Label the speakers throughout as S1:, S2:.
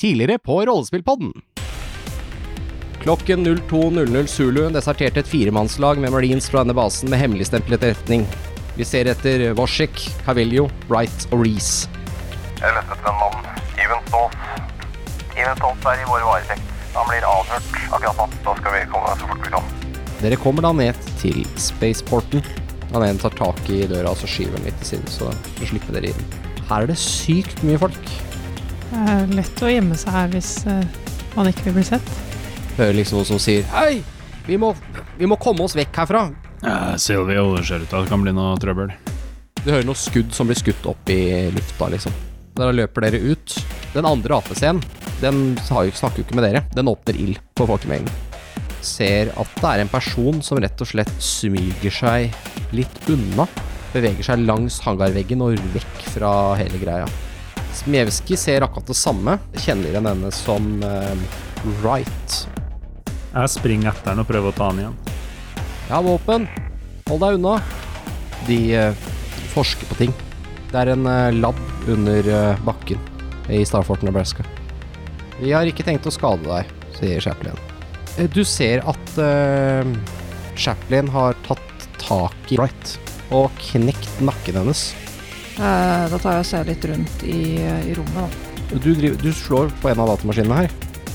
S1: tidligere på Rollespillpodden. Klokken 02.00 Zulu deserterte et firemannslag med marines fra denne basen med hemmeligstemplet etterretning. Vi ser etter Woshek, Cavello, Wright og Reece.
S2: Jeg lette etter en mann. Even Stoltz. Even Stoltz er i vår varetekt. Han blir avhørt akkurat nå. Da skal vi komme så fort vi kan.
S1: Dere kommer da ned til spaceporten. Han ene tar tak i døra og så skyver den litt til siden, så, så slipper dere inn. Her er det sykt mye folk.
S3: Det er lett å gjemme seg her hvis eh, man ikke vil bli sett.
S1: Hører liksom noen som sier Hei, vi må, vi må komme oss vekk herfra.
S4: Ja, Silvio ser ut til at det kan bli noe trøbbel.
S1: Du hører noen skudd som blir skutt opp i lufta, liksom. Da løper dere ut. Den andre AP-scenen, den har jo, snakker jo ikke med dere. Den åpner ild på folkemengden. Ser at det er en person som rett og slett smyger seg litt unna. Beveger seg langs hangarveggen og vekk fra hele greia. Smevski ser akkurat det samme. Kjenner igjen henne som eh, Wright.
S4: Jeg springer etter han og prøver å ta han igjen.
S1: Jeg har våpen. Hold deg unna. De eh, forsker på ting. Det er en eh, lab under eh, bakken i Starfort, Nebraska. Vi har ikke tenkt å skade deg, sier Chaplin. Eh, Du ser at eh, Chaplin har tatt tak i Wright og knekt nakken hennes.
S5: Eh, Da tar jeg og ser litt rundt i, eh, i rommet, da.
S1: Du, driver, du slår på en av datamaskinene her.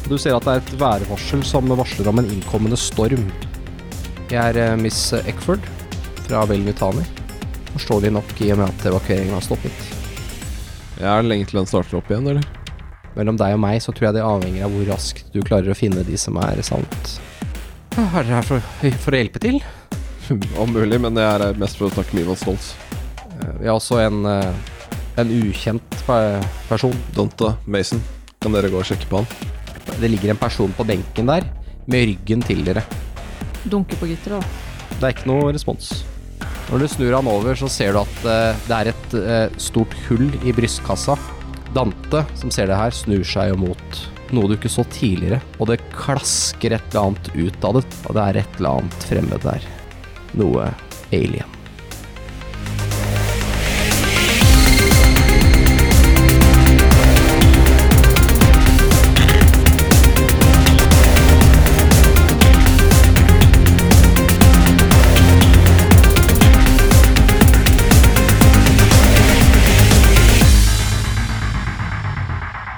S1: Du ser at det er et værvarsel som varsler om en innkommende storm. Jeg er eh, Miss Eckford fra Vel Mutani. Forståelig nok i og med at evakueringen har stoppet.
S6: Ja, Er det lenge til den starter opp igjen, eller?
S1: Mellom deg og meg så tror jeg det avhenger av hvor raskt du klarer å finne de som er savnet. Hva er dere her for, for å hjelpe til?
S6: Om mulig, men jeg er her mest for å takke Mivan Stoltz.
S1: Eh, Vi har også en, eh, en ukjent pe- person.
S6: Donta, Mason, kan dere gå og sjekke på han?
S1: Det ligger en person på benken der med ryggen til dere.
S5: Dunker på gitteret, da.
S1: Det er ikke noe respons. Når du snur han over, så ser du at eh, det er et eh, stort hull i brystkassa. Dante, som ser det her, snur seg jo mot noe du ikke så tidligere, og det klasker et eller annet ut av det, og det er et eller annet fremmed der. Noe alien.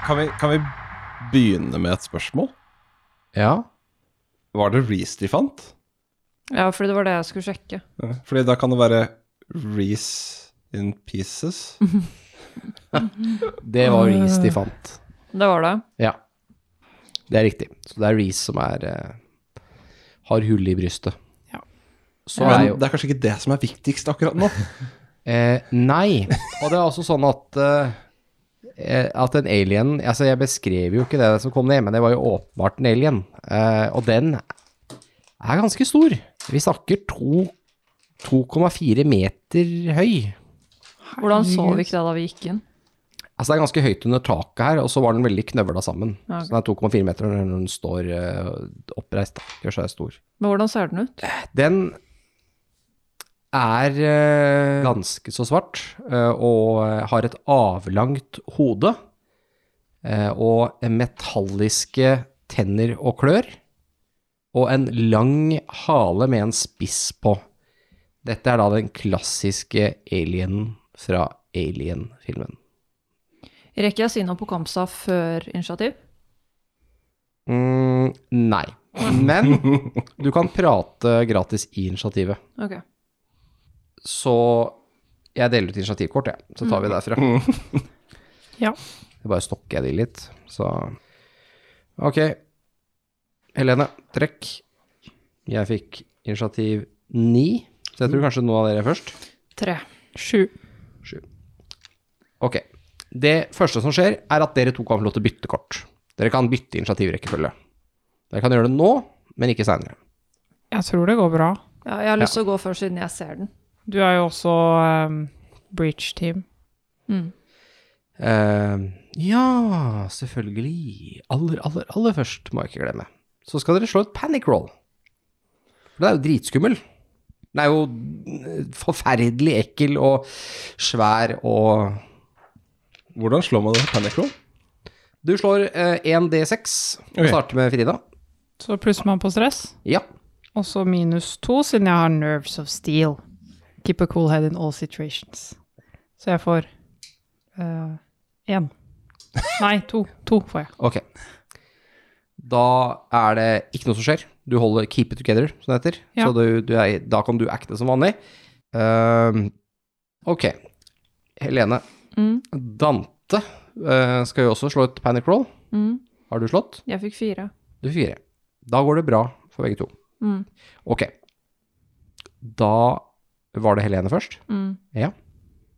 S6: Kan vi, kan vi begynne med et spørsmål?
S1: Ja,
S6: Var det Reece de fant?
S5: Ja, fordi det var det jeg skulle sjekke.
S6: Fordi da kan det være Reece in pieces.
S1: det var Reece de fant.
S5: Det var det.
S1: Ja, det er riktig. Så det er Reece som er eh, har hull i brystet.
S3: Ja.
S1: Så
S6: men
S1: er jo
S6: det er kanskje ikke det som er viktigst akkurat nå.
S1: Eh, nei. Og det er også sånn at eh, At en alien Altså, jeg beskrev jo ikke det som kom ned, men det var jo åpenbart en alien. Eh, og den er ganske stor. Vi snakker to- 2,4 meter høy.
S5: Hvordan så vi ikke det da vi gikk inn?
S1: Altså, det er ganske høyt under taket her, og så var den veldig knøvla sammen.
S5: Ja, ok.
S1: Så den er 2,4 meter når den står eh, oppreist. da. Gjør seg stor.
S5: Men hvordan ser den ut?
S1: Den er eh, ganske så svart eh, og eh, har et avlangt hode eh, og metalliske tenner og klør og en lang hale med en spiss på. Dette er da den klassiske alienen fra Alien-filmen.
S5: Rekker jeg å si noe på Kamsa før initiativ?
S1: Mm, nei. Men du kan prate gratis i initiativet.
S5: Ok.
S1: Så jeg deler ut initiativkort, jeg. Så tar vi derfra.
S3: Ja.
S1: Det bare stokker jeg de litt, så Ok. Helene, trekk. Jeg fikk initiativ ni, så jeg tror kanskje noen av dere er først.
S5: Tre.
S3: Sju.
S1: Ok. Det første som skjer, er at dere to kan få lov til å bytte kort. Dere kan bytte initiativrekkefølge. Dere kan gjøre det nå, men ikke seinere.
S3: Jeg tror det går bra.
S5: Ja, jeg har lyst til å gå først siden jeg ser den.
S3: Du er jo også um, bridge-team.
S5: Mm.
S1: Ehm, ja, selvfølgelig. Aller, aller, aller først, må jeg ikke glemme. Så skal dere slå et panic roll. For det er jo dritskummel. Den er jo eh, forferdelig ekkel og svær og
S6: Hvordan slår man det? Panic roll?
S1: Du slår eh, 1D6 og
S6: Ok.
S1: starter med Frida.
S3: Så plusser man på stress,
S1: Ja.
S3: og så minus to, siden jeg har nerves of steel. Keep a cool head in all situations. Så jeg får én. Nei, to. To får jeg.
S1: Ok. Da er det ikke noe som skjer. Du holder keep it together, som det heter.
S3: Ja.
S1: Så du, du er, da kan du acte som vanlig. Ehm, ok. Helene.
S5: Mm.
S1: Dante eh, skal jo også slå et panic roll.
S5: Mm.
S1: Har du slått?
S5: Jeg fikk fire.
S1: Du fikk fire. Da går det bra for begge to.
S5: Mm.
S1: Ok. Da var det Helene først.
S5: Mm.
S1: Ja.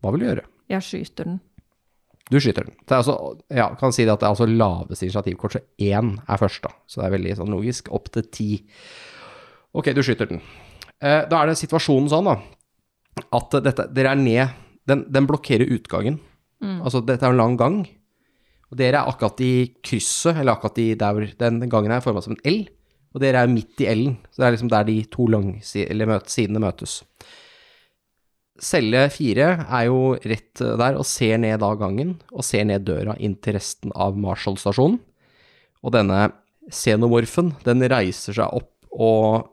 S1: Hva vil du gjøre?
S5: Jeg skyter den.
S1: Du skyter den. Det er altså, ja, kan si det at det er altså laveste initiativkort, så én er først, da. Så det er veldig sånn logisk. Opp til ti. Ok, du skyter den. Eh, da er det situasjonen sånn, da, at eh, dette Dere er ned Den, den blokkerer utgangen. Altså, dette er en lang gang. Og dere er akkurat i krysset, eller akkurat i der hvor den gangen er forma som en L. Og dere er midt i L-en, så det er liksom der de to langsi- eller møt, sidene møtes. Celle fire er jo rett eh, der og ser ned da gangen, og ser ned døra inn til resten av Marshall-stasjonen. Og denne xenomorfen, den reiser seg opp og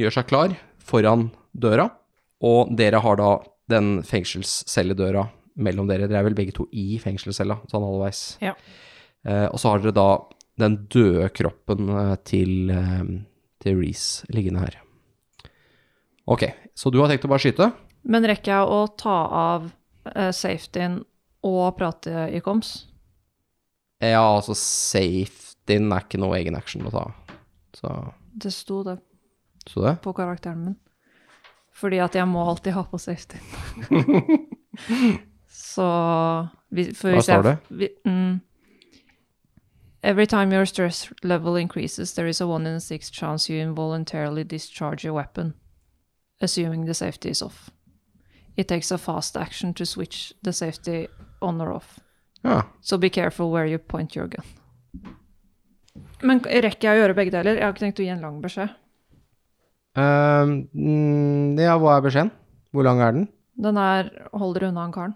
S1: gjør seg klar foran døra. Og dere har da den fengselscelledøra mellom dere. Dere er vel begge to i fengselscella, sånn halvveis.
S3: Ja.
S1: Eh, og så har dere da den døde kroppen eh, til, eh, til Reece liggende her. Ok, så du har tenkt å bare skyte?
S5: Men rekker jeg å ta av eh, safetyen og prate i koms?
S1: Ja, altså safetyen er ikke noe egen action å ta. Så,
S5: Det sto det
S1: så det.
S5: på karakteren min. Fordi at jeg må alltid ha på safetyen. Så vi- for
S1: Hva
S5: hvis
S1: står
S5: jeg-
S1: det?
S5: vi- Mm, Every time your stress level increases, there is a one in a six chance you involuntarily discharge your weapon, assuming the safety is off. It takes a fast action to switch the safety on or off.
S1: Ja.
S5: So be careful where you point your gun. Men rekker jeg å gjøre begge deler? Jeg har ikke tenkt å gi en lang beskjed.
S1: Ehm, mm, ja, hva er beskjeden? Hvor lang er den?
S5: Den er 'hold dere unna han karen'.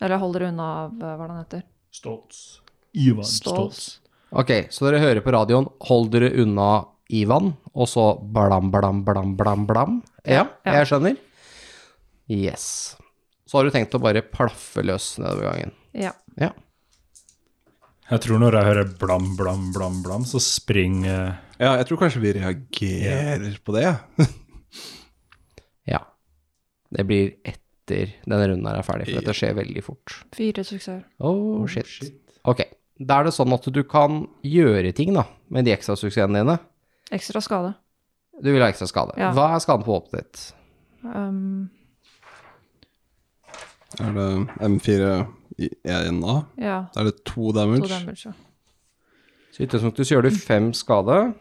S5: Eller 'hold dere unna av eh, hva er det han heter'.
S4: Stolz. Ivan
S5: Stolz.
S1: Ok, så dere hører på radioen, hold dere unna Ivan, og så blam, blam, blam, blam, blam. Ja,
S5: Ja.
S1: jeg skjønner. Yes. Så har du tenkt å bare plaffe løs nedover gangen.
S5: Ja.
S1: Ja.
S4: Jeg tror når jeg hører blam, blam, blam, blam, så springer
S6: Ja, jeg tror kanskje vi reagerer på det. ja.
S1: ja. Det blir etter denne runden her er ferdig, for dette skjer veldig fort.
S5: Fire suksesser.
S1: Oh, shit. Ok, da er det sånn at du kan gjøre ting da, med de ekstra suksessene dine.
S5: Ekstra skade.
S1: Du vil ha ekstra skade.
S5: Ja.
S1: Hva er skaden på våpenet ditt?
S5: Um,
S6: Er det M4 i 1A?
S5: ja.
S6: Da er det
S5: To
S6: to damage.
S5: damage, ja.
S1: Så i utgangspunktet så gjør du fem skade,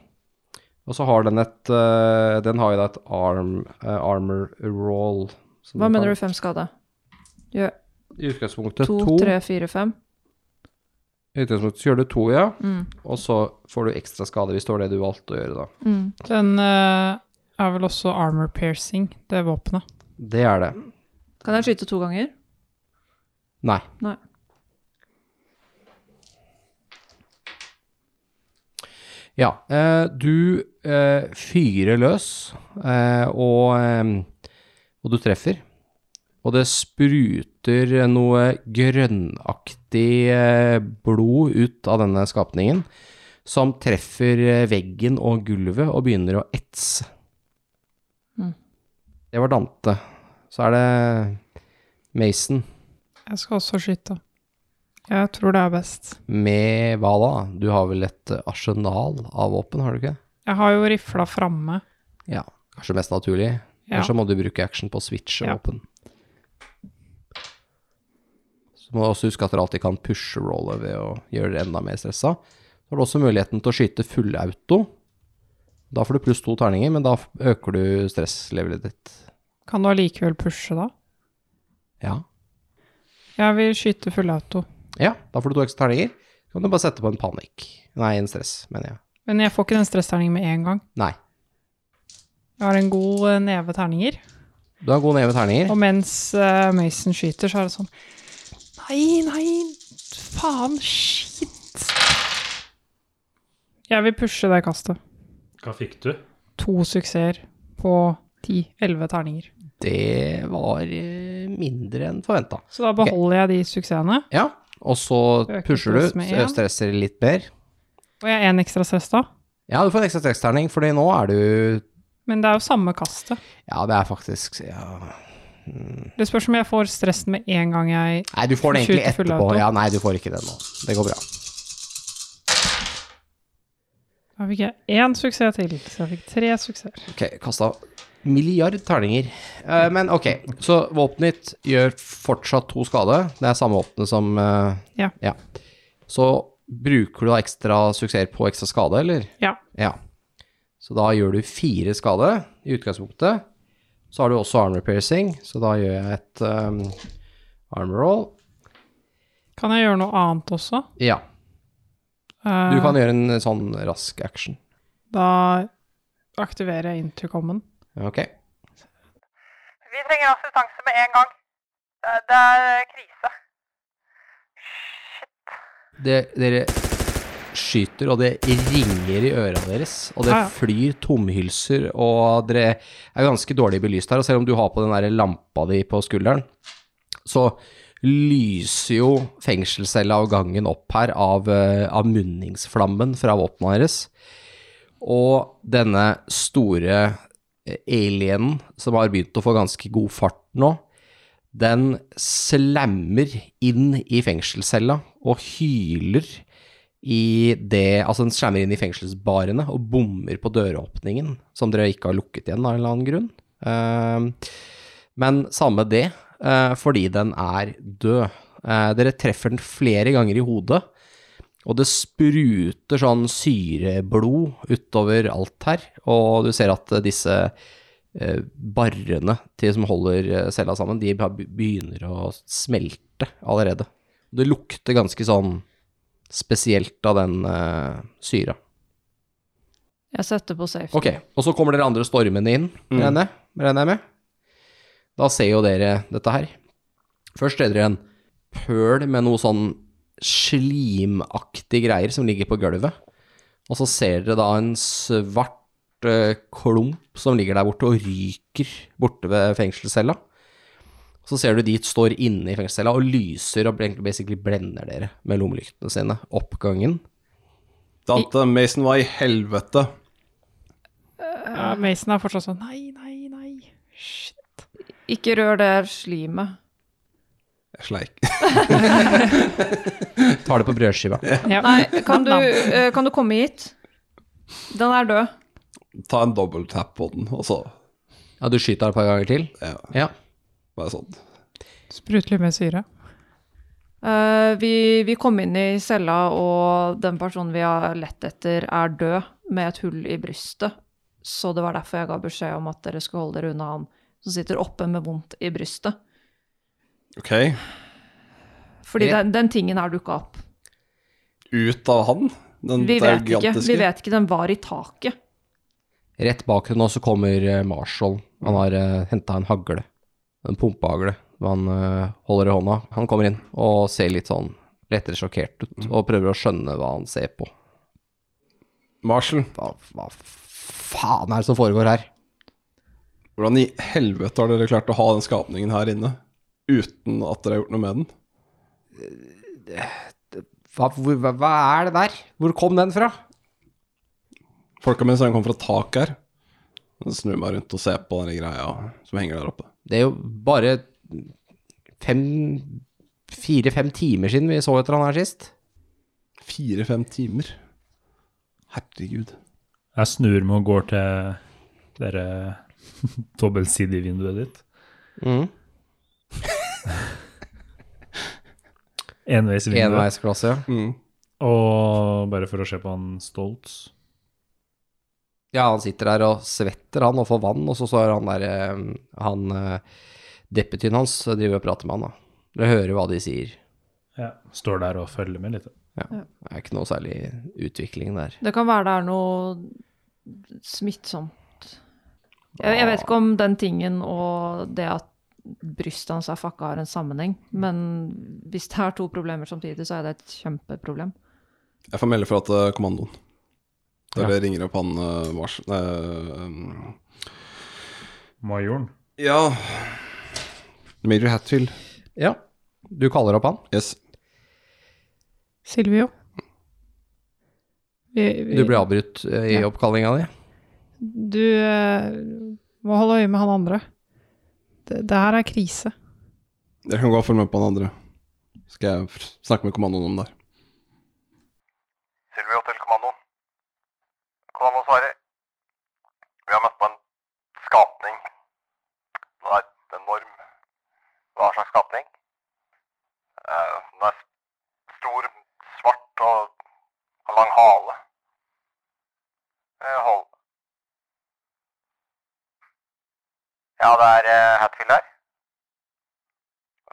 S1: og så har den et, eh, den har jo da et arm, eh, armor roll. som
S5: Hva
S1: den
S5: mener du
S1: kan-
S5: fem skade? Gjør
S1: I utgangspunktet
S5: to,
S1: to.
S5: tre, fire, fem?
S1: I utgangspunktet så gjør du to, ja.
S5: Mm.
S1: Og så får du ekstra skade hvis det var det du valgte å gjøre da.
S5: Mm.
S3: Den eh, er vel også armor piercing, det våpenet.
S1: Det er det.
S5: Kan jeg skyte to ganger?
S1: Nei.
S5: Nei.
S1: Ja, eh, du eh, fyrer løs, eh, og, eh, og du treffer. Og det spruter noe grønnaktig eh, blod ut av denne skapningen, som treffer eh, veggen og gulvet og begynner å etse.
S5: Mm.
S1: Det var Dante. Så er det Mason.
S3: Jeg skal også skyte. Jeg tror det er best.
S1: Med hva da? Du har vel et eh, arsenal av våpen, har du ikke?
S3: Jeg har jo rifla framme.
S1: Ja. Kanskje mest naturlig.
S3: Ja.
S1: Eller så må du bruke action på å switche
S3: Ja.
S1: våpen. Så må du også huske at dere alltid kan pushe rollet ved å gjøre det enda mer stressa. Så har du også muligheten til å skyte fullauto. Da får du pluss to terninger, men da f- øker du stresslevelet ditt.
S3: Kan du allikevel pushe, da?
S1: Ja.
S3: Jeg vil skyte fullauto.
S1: ja, da får du to ekstra terninger. Så kan du bare sette på en panikk. Nei, en stress, mener jeg.
S3: Men jeg får ikke den stressterningen med en gang.
S1: Nei.
S3: Jeg har en god eh, neve terninger.
S1: Du har god neve terninger.
S3: Og mens eh, Mason skyter, så er det sånn Nei, nei, faen, shit! kast. Jeg vil pushe det kastet.
S4: Hva fikk du?
S3: To suksesser på ti-elleve terninger.
S1: Det var eh, mindre enn forventa.
S3: Så da beholder jeg de suksessene.
S1: Ja, og så
S3: Øker
S1: pusher
S3: stress
S1: du,
S3: med en.
S1: stresser litt mer.
S3: Og jeg er én ekstra stress da.
S1: Ja, du får en ekstra stressterning, fordi nå er du
S3: Men det er jo samme kastet.
S1: Ja, det er faktisk ja.
S3: Det spørs om jeg får stressen med en gang jeg
S1: Nei, du får den egentlig
S3: Skyter full
S1: etterpå.
S3: auto.
S1: Ja, nei, du får ikke den nå. Det går bra.
S3: Da fikk jeg én suksess til, så jeg fikk tre suksesser.
S1: Ok, kasta milliard terninger. Eh, men ok, så våpenet ditt gjør fortsatt to skade. Det er samme våpenet som eh,
S3: Ja.
S1: Så bruker du da ekstra suksess på ekstra skade, eller?
S3: Ja.
S1: Ja. Så da gjør du fire skade i utgangspunktet. Så har du også armor piercing, så da gjør jeg et um, armor roll.
S3: Kan jeg gjøre noe annet også?
S1: Ja.
S3: Eh,
S1: Du kan gjøre en sånn rask action.
S3: Da aktiverer jeg intercomen.
S1: Ok.
S7: Vi trenger assistanse med en gang. Det er, det er eh, krise.
S1: Det, dere skyter, og det ringer i øra deres, og det
S3: Ja, ja.
S1: flyr tomhylser, og dere er ganske dårlig belyst her, og selv om du har på den der lampa di på skulderen, så lyser jo fengselscella og gangen opp her av, eh, av munningsflammen fra våpenet deres. Og denne store eh, alienen, som har begynt å få ganske god fart nå, den slammer inn i fengselscella og hyler i det Altså, den slammer inn i fengselsbarene og bommer på døråpningen, som dere ikke har lukket igjen av en eller annen grunn. Eh, men samme det, eh, fordi den er død. Eh, dere treffer den flere ganger i hodet, og det spruter sånn syreblod utover alt her, og du ser at eh, disse eh, barrene til som holder eh, cella sammen, de bare be- begynner å smelte allerede. Det lukter ganske sånn spesielt av den eh, syra.
S5: Jeg setter på safety.
S1: Ok, og så kommer dere andre stormene inn, regner jeg- regner jeg med. Da ser jo dere dette her. Først ser dere en pøl med noe sånn slimaktig greier som ligger på gulvet. Og så ser dere da en svart eh, klump som ligger der borte og ryker borte ved fengselscella. Så ser du de står inne i fengselscella og lyser og egentlig basically blender dere med lommelyktene sine opp gangen.
S6: Dante Mason var i helvete.
S3: Ja, Mason er fortsatt sånn nei, nei, nei. Shit.
S5: Ikke rør det slimet.
S6: Jeg sleik.
S1: Tar det på brødskiva.
S3: Ja.
S5: Nei, kan du, eh, kan du komme hit? Den er død.
S6: Ta en double tap på den, og så
S1: Ja, du skyter et par ganger til?
S6: ja,
S1: Ja.
S6: bare sånn.
S3: Sprutelig med syre.
S5: Eh, vi, vi kom inn i cella, og den personen vi har lett etter, er død med et hull i brystet. Så det var derfor jeg ga beskjed om at dere skulle holde dere unna han som sitter oppe med vondt i brystet.
S6: Ok,
S5: Fordi
S1: Ja.
S5: den, den tingen her dukka opp.
S6: ut av han? Den
S5: Vi vet ikke.
S6: gigantiske?
S5: Vi vet ikke. Den var i taket.
S1: Rett bak henne nå så kommer eh, Marshall. Han har uh, henta en hagle. En pumpehagle som han eh, holder i hånda. Han kommer inn og ser litt sånn lettere sjokkert ut, og prøver å skjønne hva han ser på.
S6: Marshall,
S1: Hva, hva faen er det som foregår her?
S6: hvordan i helvete har dere klart å ha den skapningen her inne? Uten at dere har gjort noe med den?
S1: Hva, hvor, hva, hva er det der? Hvor kom den fra?
S6: Folka mine sa den kom fra taket her. Jeg snur meg rundt og ser på den greia som henger der oppe.
S1: Det er jo bare fem Fire-fem timer siden vi så etter han her sist.
S6: Fire-fem timer. Herregud.
S4: Jeg snur meg og går til dere dobbeltsidevinduet ditt.
S1: Mm.
S4: Enveisvinduet.
S1: Enveisklasse, ja.
S4: Og bare for å se på han Stoltz.
S1: Ja, han sitter der og svetter, han, og får vann, og så står han der eh, Han eh, deputyen hans eh, driver og prater med han, da. Dere hører hva de sier.
S4: Ja. Står der og følger med litt.
S1: Det er ikke noe særlig utvikling der.
S5: Det kan være det er noe smittsomt. Jeg, jeg vet ikke om den tingen og det at brystet hans er fucka, har en sammenheng. Men hvis det er to problemer samtidig, så er det et kjempeproblem.
S6: Jeg får melde fra til kommandoen. Der
S4: Ja.
S6: det ringer opp han eh, mars... Nei, um,
S4: Majoren.
S6: ja Major Hatfield.
S1: Ja. Du kaller opp han.
S6: Yes.
S3: Silvio? Vi- vi-
S1: Du ble avbrutt eh, i oppkallinga di.
S3: Du eh, må holde øye med han andre. Det, det her er krise.
S6: Dere kan gå og følge med på han andre. Skal jeg f- snakke med kommandoen om det. her.
S2: Silvio til kommandoen. Kommandoen svarer. Vi har møtt på en skapning. Den er enorm. Hva slags skapning? Eh, Den er stor, svart og har lang hale. Eh, Hold. Ja, det er eh, Hatfield her.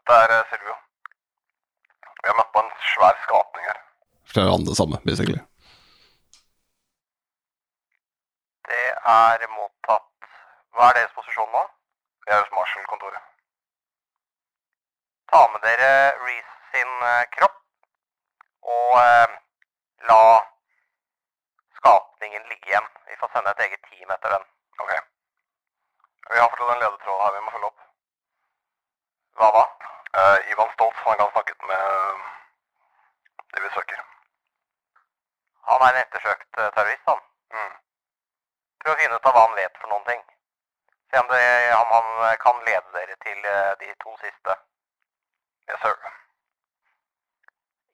S2: Dette er eh, Silvio. Vi har møtt på en svær skapning her.
S6: Forteller han det samme, basically.
S2: Det er mottatt. Hva er deres posisjon nå? Vi er hos Marshall-kontoret. Ta med dere Reese sin eh, kropp, og eh, la skapningen ligge igjen. Vi får sende et eget team etter den. Ok. Vi har fortsatt en ledetråd her vi må følge opp. Hva da? Eh, Ivan Stoltz, han kan snakke med det vi søker. Han er en ettersøkt eh, terrorist, han. Mm. Prøv å finne ut av hva han vet for noen ting. Se om, det, om han eh, kan lede dere til eh, de to siste. Yes, sir.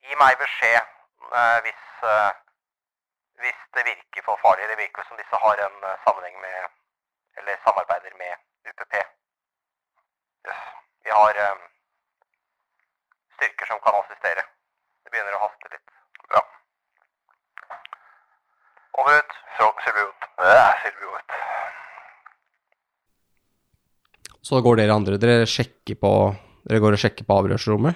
S2: Gi meg beskjed eh, hvis, eh, hvis det virker for farlig. Det virker som disse har en eh, sammenheng med Eller samarbeider med UPP. Yes. Vi har eh, styrker som kan assistere. Det begynner å haste litt. Bra. Over ut. Strong Silvio ut. Det er Silvio ut.
S1: Så går dere andre. Dere sjekker på Dere går og sjekker på avhørsrommet.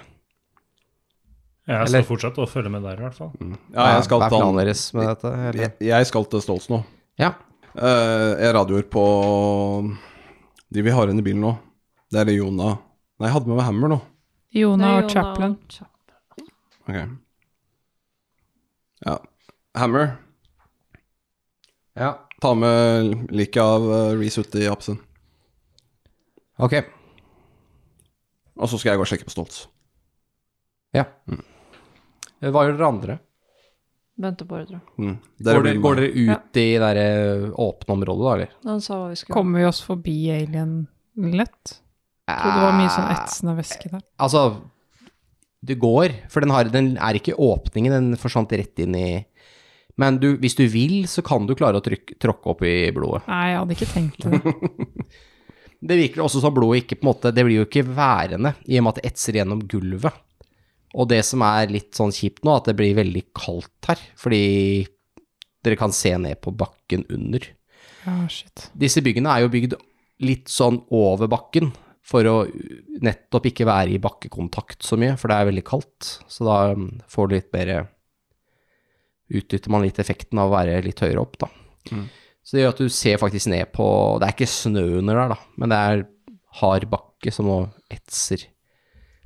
S4: Jeg
S1: Eller-
S4: skal fortsette å følge med der, i hvert fall.
S6: Ja, jeg skal
S1: Hva er
S6: til
S1: planen
S6: han.
S1: deres med dette? Eller?
S6: Jeg, jeg skal til Stoltz nå.
S1: Ja.
S6: Eh, jeg radioer på de vi har igjen i bilen nå. Det er Jona Nei, jeg hadde med meg Hammer nå.
S3: Jonah
S5: Nei,
S3: og Chaplin.
S5: Chap-
S6: Ok. Ja. Hammer,
S1: ja.
S6: ta med liket av eh, Reece ut i Absen.
S1: Ok.
S6: Og så skal jeg gå og sjekke på Stoltz.
S1: Ja.
S6: Mm.
S1: Hva gjør dere andre?
S5: Bente Bordre.
S6: Mm. Dere
S1: Går dere,
S6: blir med.
S1: går dere ut i det der, eh, åpne området, da, eller?
S5: Han sa hva vi skulle
S3: Kommer vi oss forbi alien lett? Jeg trodde det var mye sånn etsende væske der.
S1: Altså, det går, for den, har, den er ikke åpningen, den forsvant rett inn i Men du, hvis du vil, så kan du klare å trykke, tråkke opp i blodet.
S3: Nei, jeg hadde ikke tenkt det.
S1: Det virker også som blodet ikke på en måte Det blir jo ikke værende, i og med at det etser gjennom gulvet. Og det som er litt sånn kjipt nå, at det blir veldig kaldt her, fordi dere kan se ned på bakken under.
S3: Ja, shit.
S1: Disse byggene er jo bygd litt sånn over bakken, for å nettopp ikke være i bakkekontakt så mye, for det er veldig kaldt. Så da mm, får du litt bedre Utnytter man litt effekten av å være litt høyere opp, da. Så det gjør at du ser faktisk ned på Det er ikke snø under der, da, men det er hard bakke som nå etser.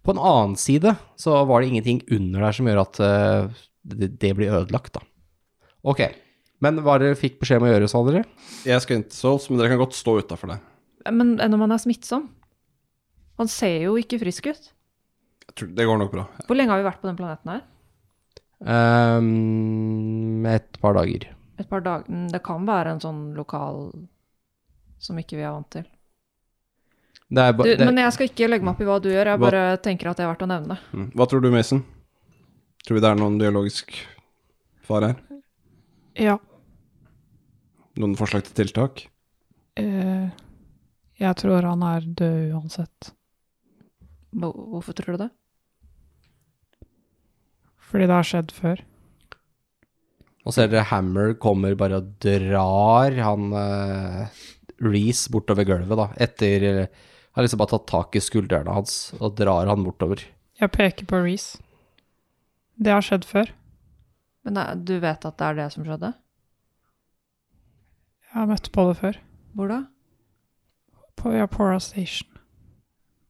S1: På en annen side så var det ingenting under der som gjør at eh, det, det blir ødelagt, da. Ok. Men hva dere fikk beskjed om å gjøre, sa dere?
S6: Jeg skal inn til Stoltz, men dere kan godt stå utafor der.
S5: Men enn om han er smittsom? Han ser jo ikke frisk ut.
S6: Jeg tror- Det går nok bra.
S5: Hvor lenge har vi vært på den planeten her?
S1: Ehm, et par dager.
S5: Et par dager Mm, Det kan være en sånn lokal som ikke vi er vant til.
S1: Det er ba,
S5: Du,
S1: det,
S5: men jeg skal ikke legge meg opp i hva du gjør, jeg
S6: Hva-
S5: bare tenker at det er verdt å nevne.
S6: Mm. Hva tror du, Mason? Tror vi det er noen dialogisk fare her?
S3: Ja.
S6: Noen forslag til tiltak?
S3: eh, jeg tror han er død uansett.
S5: Hva- Hvorfor tror du det?
S3: Fordi det har skjedd før.
S1: Og så er det Hammer kommer bare og drar han eh, Reece bortover gulvet, da. Etter eh, Har liksom bare tatt tak i skuldrene hans og drar han bortover.
S3: Jeg peker på Reece. Det har skjedd før.
S5: Men nei, du vet at det er det som skjedde?
S3: Jeg har møtt på det før.
S5: Hvor da?
S3: På Yapora Station.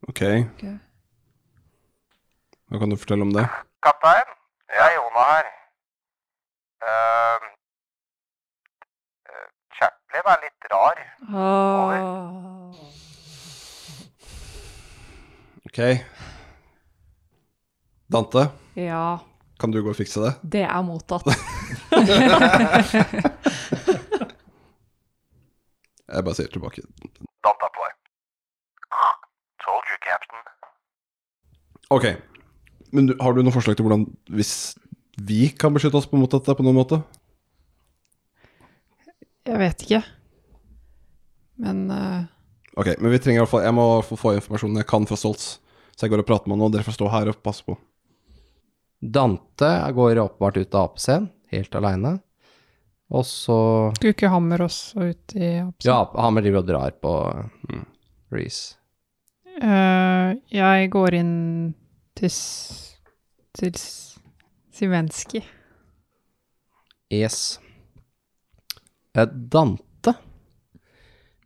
S6: Ok,
S5: Ok.
S6: hva kan du fortelle om det?
S2: Kaptein, det er Jona her. eh, eh, Chaplin er litt rar.
S5: Åh.
S6: Ok. Dante,
S5: Ja,
S6: kan du gå og fikse det?
S5: det er mottatt.
S6: Jeg bare sier tilbake.
S2: Dante er på vei. Told you, captain.
S6: Ok. Men du, har du noen forslag til hvordan Hvis vi kan beskytte oss på mot dette på noen måte?
S3: Jeg vet ikke. Men eh,
S6: Ok, men vi trenger i hvert fall Jeg må få- få informasjonen jeg kan fra Stoltz. Så jeg går og prater med han nå. Dere får stå her og passe på.
S1: Dante går åpenbart ut av apescenen, helt aleine. Og så
S3: skulle ikke Hammer også ut i absen?
S1: Ja, Hammer driver og drar på mm, Reece.
S3: Eh, jeg går inn til, s- til s- Simenski.
S1: Yes. Eh, Dante,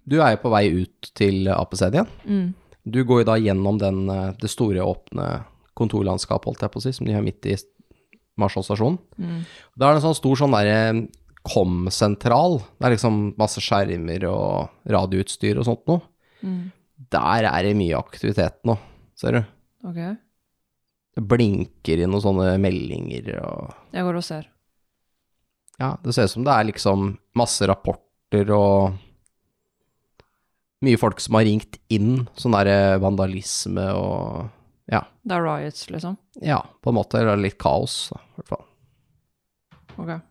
S1: du er jo på vei ut til apescenen igjen.
S5: Mm.
S1: Du går jo da gjennom den, eh, det store, åpne kontorlandskapet, holdt jeg på å si, som de har midt i Marshall stasjon.
S5: Mm.
S1: Da er det en sånn stor sånn derre kom-sentral. Det er liksom masse skjermer og radioutstyr og sånt noe.
S5: Mm.
S1: Der er det mye aktivitet nå, ser du.
S5: Ok,
S1: Det blinker i noen sånne meldinger og
S5: jeg går og ser.
S1: Ja, det ser ut som det er liksom masse rapporter og mye folk som har ringt inn. Sånn derre vandalisme og Ja.
S5: Det er riots, liksom.
S1: Ja, på en måte. Eller litt kaos, da, i hvert fall.
S5: Ok.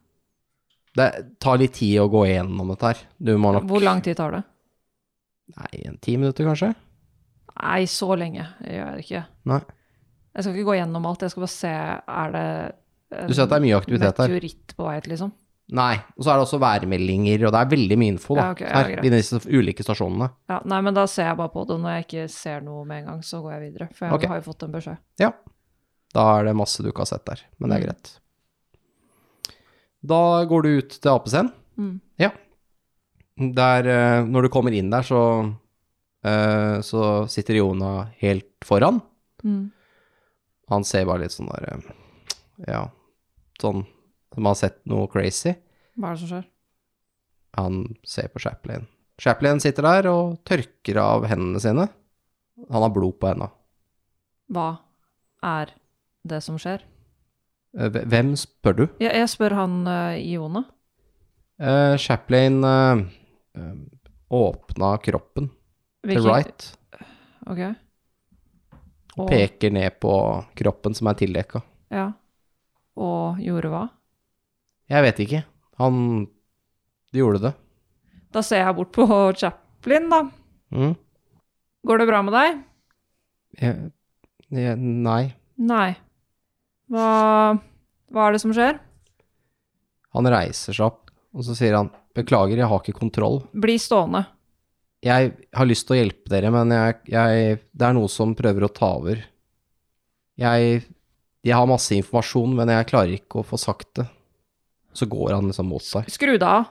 S1: Det tar litt tid å gå gjennom dette her. Du må nok
S5: Hvor lang tid tar det?
S1: Nei, en ti minutter, kanskje?
S5: Nei, så lenge jeg gjør jeg ikke.
S1: Nei.
S5: Jeg skal ikke gå gjennom alt, jeg skal bare se er det en
S1: Du ser at det er mye aktivitet her.
S5: meteoritt på vei ut, liksom.
S1: Nei. Og så er det også værmeldinger, og det er veldig mye info da,
S5: Ja, ok, ja,
S1: her.
S5: greit.
S1: I disse ulike stasjonene.
S5: Ja, nei, men da ser jeg bare på det. og Når jeg ikke ser noe med en gang, så går jeg videre. For jeg
S1: Ok.
S5: har jo fått en beskjed.
S1: Ja. Da er det masse du ikke har sett der, men det er
S5: Mm.
S1: greit. Da går du ut til apescenen.
S5: Mm.
S1: Ja. Der, eh, når du kommer inn der, så, eh, så sitter Jona helt foran.
S5: Mm.
S1: Han ser bare litt sånn der, eh, ja, sånn som har sett noe crazy.
S5: Hva er det som skjer?
S1: Han ser på Chaplin. Chaplin sitter der og tørker av hendene sine. Han har blod på henda.
S5: Hva er det som skjer?
S1: Eh, hve- Hvem spør du?
S5: Jeg, jeg spør han eh, Iona.
S1: Eh, Chaplin eh, eh, åpna kroppen til Wright
S5: Ok.
S1: og peker ned på kroppen som er tildekka.
S5: Ja. Og gjorde hva?
S1: Jeg vet ikke. Han gjorde det.
S5: Da ser jeg bort på Chaplin, da.
S1: Mm.
S5: Går det bra med deg?
S1: Jeg, jeg, nei.
S5: Nei. Hva, hva er det som skjer?
S1: Han reiser seg opp, og så sier han beklager, jeg har ikke kontroll.
S5: Bli stående.
S1: Jeg har lyst til å hjelpe dere, men jeg, jeg, det er noe som prøver å ta over. Jeg, jeg har masse informasjon, men jeg klarer ikke å få sagt det. Så går han liksom mot seg.
S5: Skru deg av.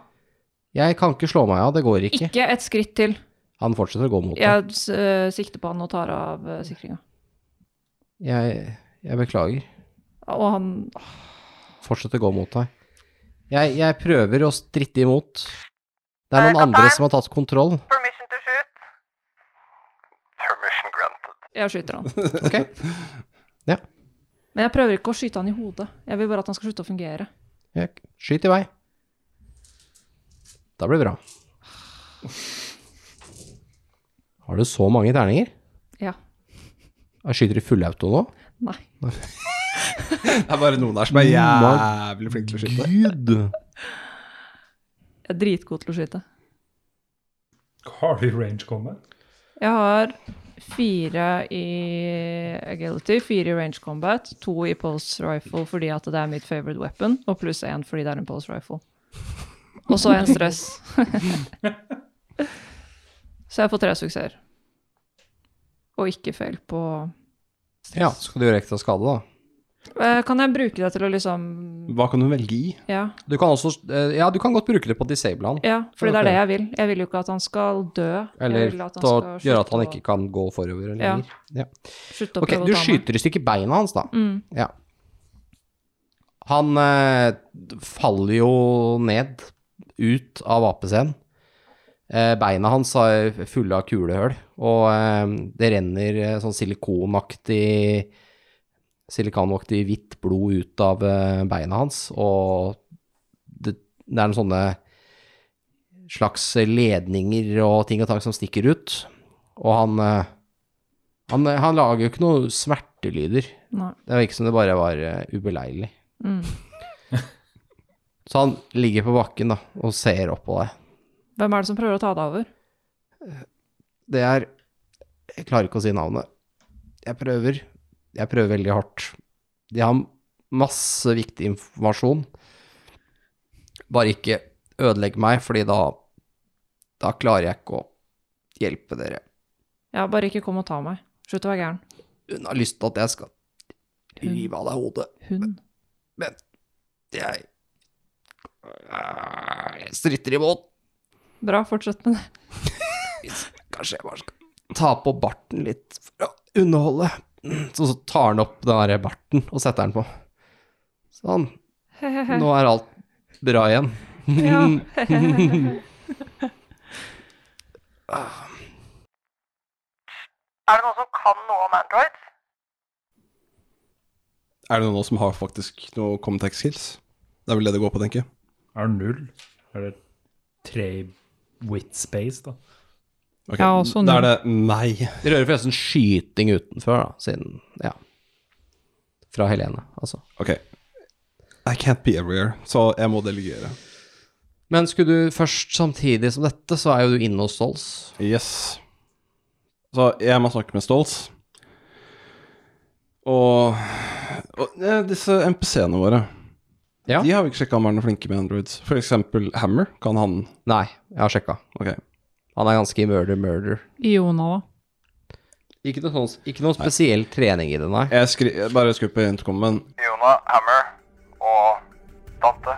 S1: Jeg kan ikke slå meg av, det går ikke.
S5: Ikke et skritt til.
S1: Han fortsetter å gå mot deg.
S5: Jeg eh, sikter på han og tar av eh, sikringa.
S1: Jeg, jeg beklager.
S5: Og han
S1: Fortsett å gå mot deg. Jeg, jeg prøver å stritte imot. Det
S7: Eh,
S1: er noen andre
S7: kaptein?
S1: som har tatt kontroll.
S7: Permission to shoot.
S2: Permission granted.
S5: Jeg skyter han.
S1: Ok.
S5: Men jeg prøver ikke å skyte han i hodet. Jeg vil bare at han skal slutte å fungere.
S1: Jeg- Skyt i vei. Da blir det bra. Har du så mange terninger?
S5: Ja.
S1: Jeg skyter i fullauto nå?
S5: Nei.
S6: Det er bare noen der som er jævlig flink til å skyte.
S1: Gud!
S5: Jeg er dritgod til å skyte.
S4: Har du range combat?
S5: Jeg har fire i agility, fire i range combat, to i pulse rifle fordi at det er mitt favorite weapon, og pluss én fordi det er en pulse rifle. Og så en stress. så jeg får tre suksesser. Og ikke feil på
S1: Ja, skal du gjøre ekstra skade, da?
S5: Eh, Kan jeg bruke det til å liksom
S6: Hva kan hun velge i?
S5: Ja.
S1: Du kan også eh, Ja, du kan godt bruke det på å disable han.
S5: ja for det er det jeg vil. Jeg vil jo ikke at han skal dø.
S1: Eller
S5: jeg vil
S1: til å
S5: skal
S1: gjøre at han
S5: slutte
S1: ikke kan gå forover
S5: Ja.
S1: lenger. Ja.
S5: å- slutte å
S1: Ok,
S5: prøve å
S1: du
S5: ta meg.
S1: skyter i stykker beina hans, da.
S5: Mm.
S1: Ja. Han eh, faller jo ned ut av apescenen. Eh, beina hans er fulle av kulehull, og eh, det renner eh, sånn silikonaktig silikanaktig hvitt blod ut av eh, beina hans, og det, det er noen sånne slags ledninger og ting og tang som stikker ut, og han, eh, han, eh, han lager jo ikke noen smertelyder.
S5: Nei.
S1: Det var ikke som det bare var eh, ubeleilig.
S5: Mm.
S1: Så han ligger på bakken da, og ser opp på deg.
S5: Hvem er det som prøver å ta deg over?
S1: Det er Jeg klarer ikke å si navnet. Jeg prøver. Jeg prøver veldig hardt. De har masse viktig informasjon. Bare ikke ødelegg meg, fordi da Da klarer jeg ikke å hjelpe dere.
S5: Ja, bare ikke kom og ta meg. Slutt å være gæren.
S1: Hun har lyst til at jeg skal rive av deg hodet,
S5: Hun.
S1: men jeg eh, Jeg stritter imot.
S5: Bra, fortsett med det.
S1: Kanskje jeg bare skal ta på barten litt for å underholde. Så, så tar han opp den der barten og setter den på. Sånn. Nå er alt bra igjen.
S5: Ja.
S7: Er det noen som kan noe om Androids?
S6: Er det noen av oss som har faktisk noe Comtech skills? Det er vel det det går på, tenker jeg.
S4: Er det null? Er det tre i wit space, da?
S6: Ok,
S3: Ja, også
S6: Da er det meg.
S1: Dere hører forresten skyting utenfor, da, siden Ja. Fra Helene, altså.
S6: Ok. I can't be everywhere, så jeg må delegere.
S1: Men skulle du først samtidig som dette, så er jo du inne hos Stols.
S6: Yes. Så jeg må snakke med Stolz. Og, og eh, disse MPC-ene våre
S1: Ja.
S6: De har vi ikke sjekka om er noen flinke med Androids. For eksempel Hammer. Kan han
S1: Nei, jeg har sjekka.
S6: Ok.
S1: Han er ganske murder-murder.
S3: Iona, da.
S1: Ikke noe, sånn, ikke noe spesiell trening i det, nei.
S6: Jeg skri jeg bare skru på intercomen.
S2: Jona, Hammer og Dante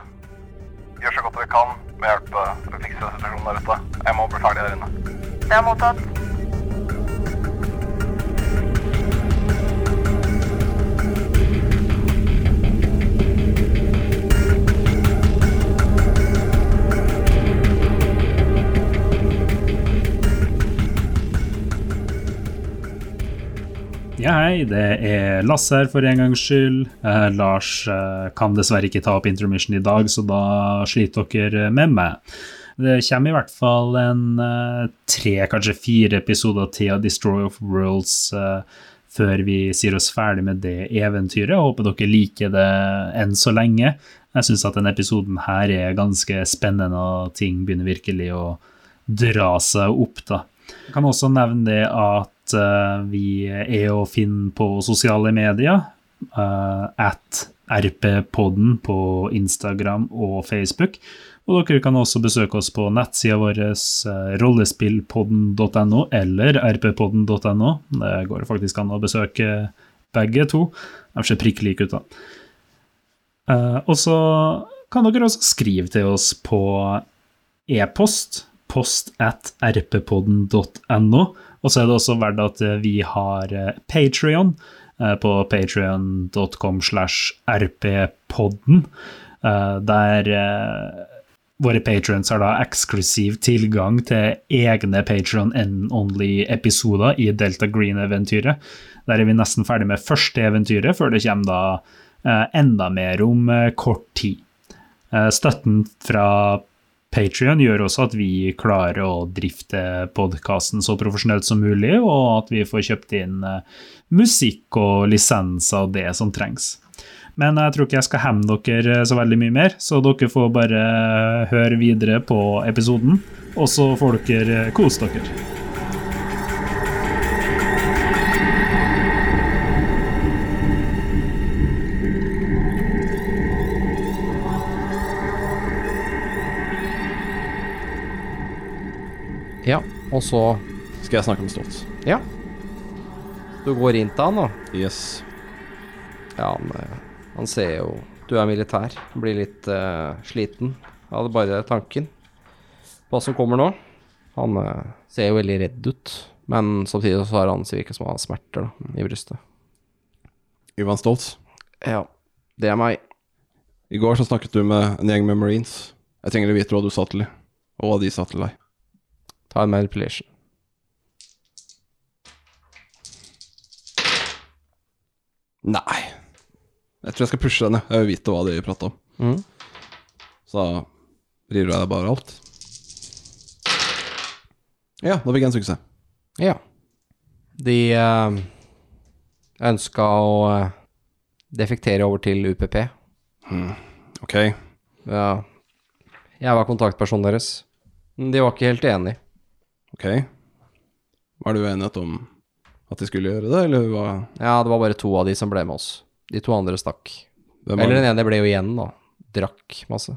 S2: gjør så godt vi kan med å hjelpe å fikse situasjonen der ute. Jeg må bli ferdig der inne.
S7: Det er mottatt.
S8: Ja, hei, det er Lasse her for en gangs skyld. Eh, Lars eh, kan dessverre ikke ta opp intermission i dag, så da sliter dere med meg. Det kommer i hvert fall en eh, tre, kanskje fire episoder til av Destroy of Worlds eh, før vi sier oss ferdig med det eventyret. Jeg håper dere liker det enn så lenge. Jeg syns at denne episoden her er ganske spennende, og ting begynner virkelig å dra seg opp, da. Jeg kan også nevne det at eh, vi er å finne på sosiale medier. eh, at RP-podden på Instagram og Facebook. Og dere kan også besøke oss på nettsida vår eh, rollespillpodden.no eller rppodden.no. Det går faktisk an å besøke begge to. De ser prikk like ut, da. Eh, og så kan dere også skrive til oss på e-post, post at rppodden.no. Og så er det også verdt at eh, vi har eh, Patreon eh, på patreon.com slash rppodden, eh, der eh, våre patrons har da eksklusiv tilgang til egne Patreon N-only-episoder i Delta Green-eventyret. Der er vi nesten ferdig med første eventyret, før det kommer da eh, enda mer om eh, kort tid. Eh, Støtten fra Patrion gjør også at vi klarer å drifte podkasten så profesjonelt som mulig, og at vi får kjøpt inn eh, musikk og lisenser og det som trengs. Men jeg tror ikke jeg skal hemme dere eh, så veldig mye mer, så dere får bare eh, høre videre på episoden, og så får dere kose dere.
S1: Ja, og så
S6: Skal jeg snakke med Stolz?
S1: Ja. Du går inn til han, da.
S6: Yes.
S1: Ja, han, eh, han ser jo Du er militær. Blir litt eh, sliten av det bare tanken. Hva som kommer nå. Han eh, ser jo veldig redd ut, men samtidig så har han så virker det som han har smerter da, i brystet.
S6: Ivan Stolz.
S1: Ja, det er meg.
S6: I går så snakket du med en gjeng med marines. Jeg trenger å vite hva du sa til dem, og hva de sa til deg.
S1: Ta en manipulation.
S6: Nei. Jeg tror jeg skal pushe henne. Jeg vil vite hva de prata om.
S1: Mhm.
S6: Så da rir du av deg bare alt. Ja, da fikk jeg en suksess.
S1: Ja. De eh, ønska å eh, defektere over til UPP.
S6: Ok.
S1: Ja. Jeg var kontaktpersonen deres. Men De var ikke helt enig.
S6: ok. Var det uenighet om at de skulle gjøre det, eller hva?
S1: Ja, det var bare to av de som ble med oss. De to andre stakk.
S6: Hvem var,
S1: Eller den ene ble jo igjen, da. Drakk masse.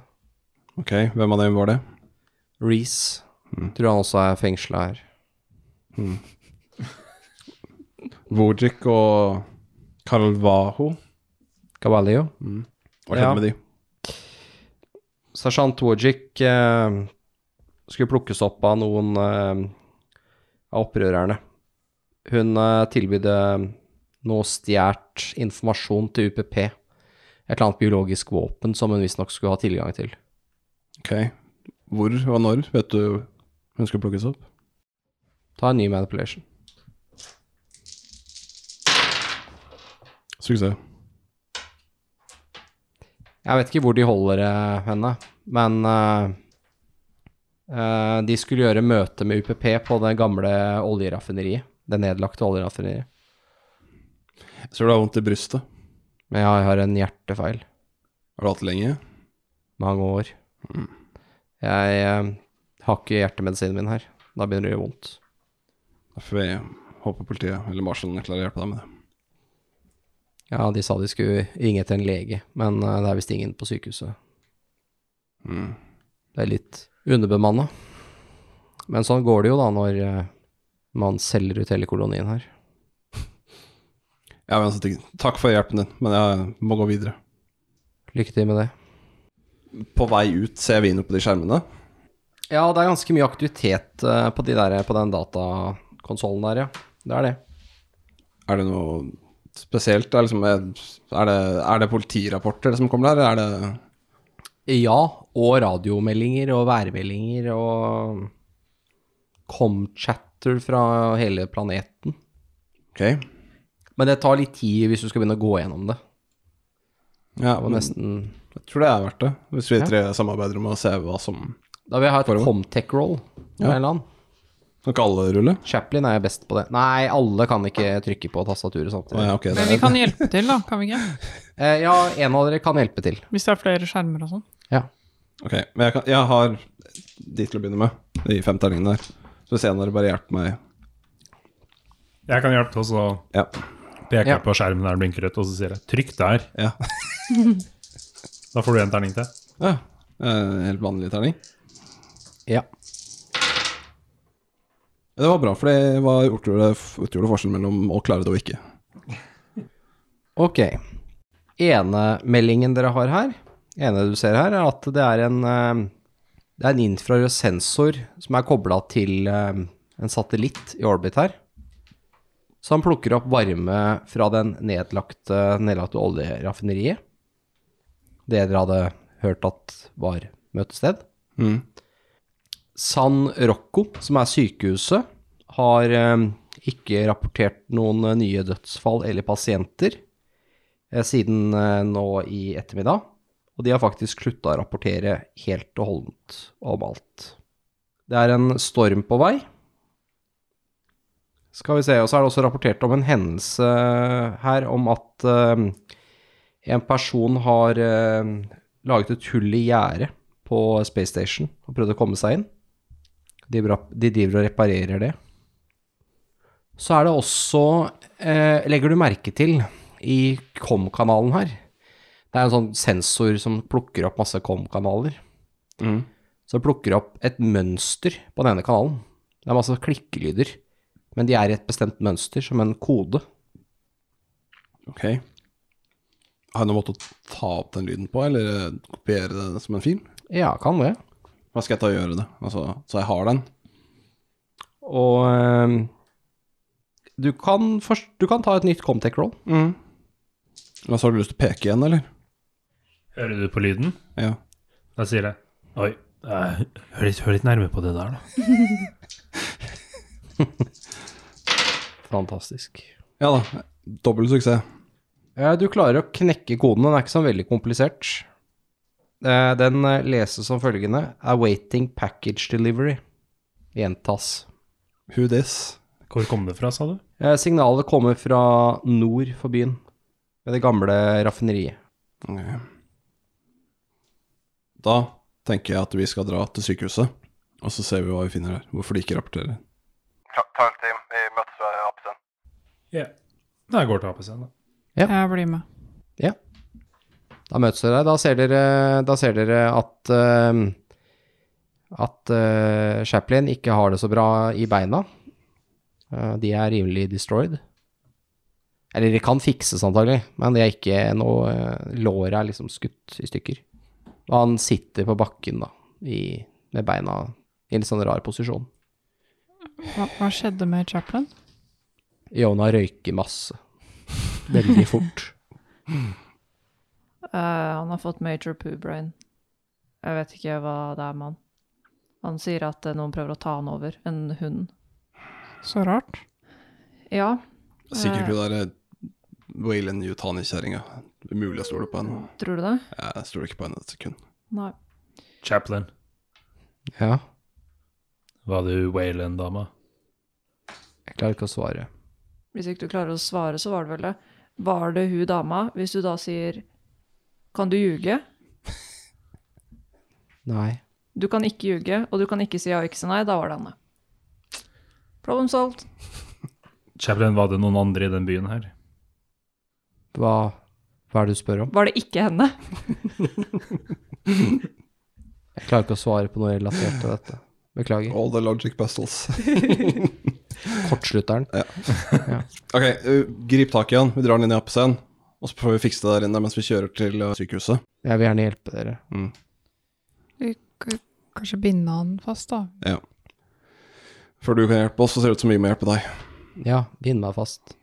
S6: Ok, hvem av dem var det?
S1: Reece. Tror han også er fengsla her.
S6: Vojik og Carlvaho.
S1: Cavalio.
S6: Hva skjedde
S1: Ja.
S6: med de?
S1: Sersjant Wojcik eh, skulle plukkes opp av noen eh, av opprørerne. Hun eh, tilbydde noe stjålet informasjon til UPP. Et eller annet biologisk våpen som hun visstnok skulle ha tilgang til.
S6: Ok. Hvor og når, vet du hun skulle plukkes opp?
S1: Ta en ny manipulation.
S6: Suksess.
S1: Jeg vet ikke hvor de holder eh, henne, men eh, eh, de skulle gjøre møte med UPP på det gamle oljeraffineriet. Det nedlagte oljeraffineriet.
S6: Jeg tror du har vondt i brystet.
S1: Men jeg har en hjertefeil.
S6: Har du hatt det lenge?
S1: mange år. Jeg eh, har ikke hjertemedisinen min her. Da begynner det å gjøre vondt.
S6: Derfor jeg håper politiet eller marshallen klarer å hjelpe deg med det.
S1: Ja, de sa de skulle ringe etter en lege, men eh, det er visst ingen på sykehuset.
S6: Mm.
S1: Det er litt underbemanna. Men sånn går det jo da når eh, man selger ut hele kolonien her.
S6: Ja, men altså, takk- takk for hjelpen din, men jeg må gå videre.
S1: Lykke til med det.
S6: På vei ut ser vi noe på de skjermene.
S1: Ja, det er ganske mye aktivitet eh, på, de der, på den datakonsollen der, ja. Det er det.
S6: Er det noe spesielt? Er, liksom, er, det, er det politirapporter som kommer der? Er det
S1: Ja, og radiomeldinger og værmeldinger og Comchatter fra hele planeten.
S6: Ok.
S1: Men det tar litt tid hvis du skal begynne å gå gjennom det.
S6: Ja,
S1: Og
S6: men
S1: nesten
S6: jeg tror det er verdt det, hvis vi tre samarbeider om å se hva som
S1: Da vil jeg ha et
S6: Forhånd.
S1: Comtech-roll.
S6: Ja.
S1: Ja.
S6: Kan ikke alle rulle?
S1: Chaplin er best på det. Nei, alle kan ikke trykke på tastaturet
S6: Å,
S1: samtidig.
S6: ja, ok,
S3: Men
S6: det,
S3: vi kan hjelpe til, da, kan vi ikke?
S1: Eh, ja, en av dere kan hjelpe til.
S3: Hvis det er flere skjermer og sånn.
S1: Ja.
S6: ok, men jeg, kan, jeg har de til å begynne med, de fem terningene der. Så hvis en av dere bare hjelper meg
S4: Jeg kan hjelpe til også å
S6: Ja.
S4: peke
S1: Ja.
S4: på skjermen der den blinker ut, og så sier jeg 'trykk der'.
S6: ja.
S4: Da får du en terning til.
S6: ja. Eh, Helt vanlig terning.
S1: ja.
S6: Ja, Det var bra, for det var, utgjorde, utgjorde forskjellen mellom å klare det og ikke.
S1: Ok. Enemeldingen dere har her, ene du ser her, er at det er en, eh, det er en infrarød sensor som er kobla til eh, en satellitt i orbit her. Som plukker opp varme fra den nedlagte, nedlagte oljeraffineriet. Det dere hadde hørt at var møtested. San Rocco, som er sykehuset, har eh, ikke rapportert noen eh, nye dødsfall eller pasienter eh, siden eh, nå i ettermiddag. Og de har faktisk slutta å rapportere helt og holdent om alt. Det er en storm på vei. Skal vi se, og så er det også rapportert om en hendelse her om at eh, en person har eh, laget et hull i gjerdet på Space Station og prøvd å komme seg inn. De, bra- de driver og reparerer det. Så er det også eh, Legger du merke til i KOM-kanalen her Det er en sånn sensor som plukker opp masse KOM-kanaler. Mm. Så det plukker opp et mønster på denne kanalen. Det er masse klikkelyder, men de er i et bestemt mønster, som en kode.
S6: Ok. Har jeg noen måte å ta opp den lyden på, eller eh, kopiere det som en film?
S1: Ja, kan det.
S6: Hva skal jeg ta og gjøre det? Altså, så jeg har den?
S1: Og eh, du, kan først, du kan ta et nytt Comtech-roll.
S6: Altså, har du lyst til å peke igjen, eller?
S4: Hører du på lyden?
S6: Ja.
S4: Da sier jeg Oi, eh, hør litt, hør litt nærmere på det der, da.
S1: Fantastisk.
S6: ja da. Dobbel suksess.
S1: Eh, Du klarer å knekke koden, den er ikke så veldig komplisert. Eh, Den eh, leses som følgende Awaiting package delivery. Gjentas.
S6: Who this?
S4: Hvor kom det fra, sa du?
S1: Eh, Signalet kommer fra nord for byen, ved det gamle raffineriet.
S6: Ok. Da tenker jeg at vi skal dra til sykehuset, og så ser vi hva vi finner der. Hvorfor de ikke rapporterer.
S2: Tarl Team, vi møtes ved Apesen.
S4: Ja. Da jeg går til APC-en, da.
S3: Jeg blir med.
S1: Da møtes dere. Da ser dere, da ser dere at eh, at eh, Chaplin ikke har det så bra i beina. Eh, de er rimelig destroyed. Eller de kan fikses antagelig, men de er ikke noe eh, Låret er liksom skutt i stykker. Og han sitter på bakken da, i, med beina i en litt sånn rar posisjon.
S3: Hva, hva skjedde med Chaplin?
S1: Yona røyker masse. Veldig fort.
S5: Eh, han har fått major poo-brain. Jeg vet ikke hva det er med han. Han sier at eh, noen prøver å ta han over, en hund.
S3: Så rart.
S5: Ja,
S6: Sikkert hun derre Waylon Yutani-kjerringa. Umulig å stole på henne.
S5: tror du det?
S6: Jeg stoler ikke på henne et sekund.
S5: Nei.
S4: Chaplin.
S1: Ja,
S4: Var du Wayland-dama?
S1: jeg klarer ikke å svare.
S5: Hvis ikke du klarer å svare, så var det vel det. Var det hun dama? Hvis du da sier Kan du ljuge?
S1: Nei.
S5: Du kan ikke ljuge, og du kan ikke si ja og ikke si nei. Da var det henne. Problem solved.
S4: Chaplin, var det noen andre i den byen her?
S1: Hva, hva er det du spør om?
S5: Var det ikke henne?
S1: Jeg klarer ikke å svare på noe relatert til dette. Beklager.
S6: All the logic puzzles.
S1: Kortslutteren.
S6: ok, uh, grip tak i han. Vi drar han inn i appscenen, og så får vi fikse det der inne mens vi kjører til uh, sykehuset. Mm,
S1: Jeg vil gjerne hjelpe dere.
S3: Vi k- Kanskje binde han fast, da.
S6: Før du kan hjelpe oss, så ser det ut som vi må hjelpe deg.
S1: Ja, bind meg fast.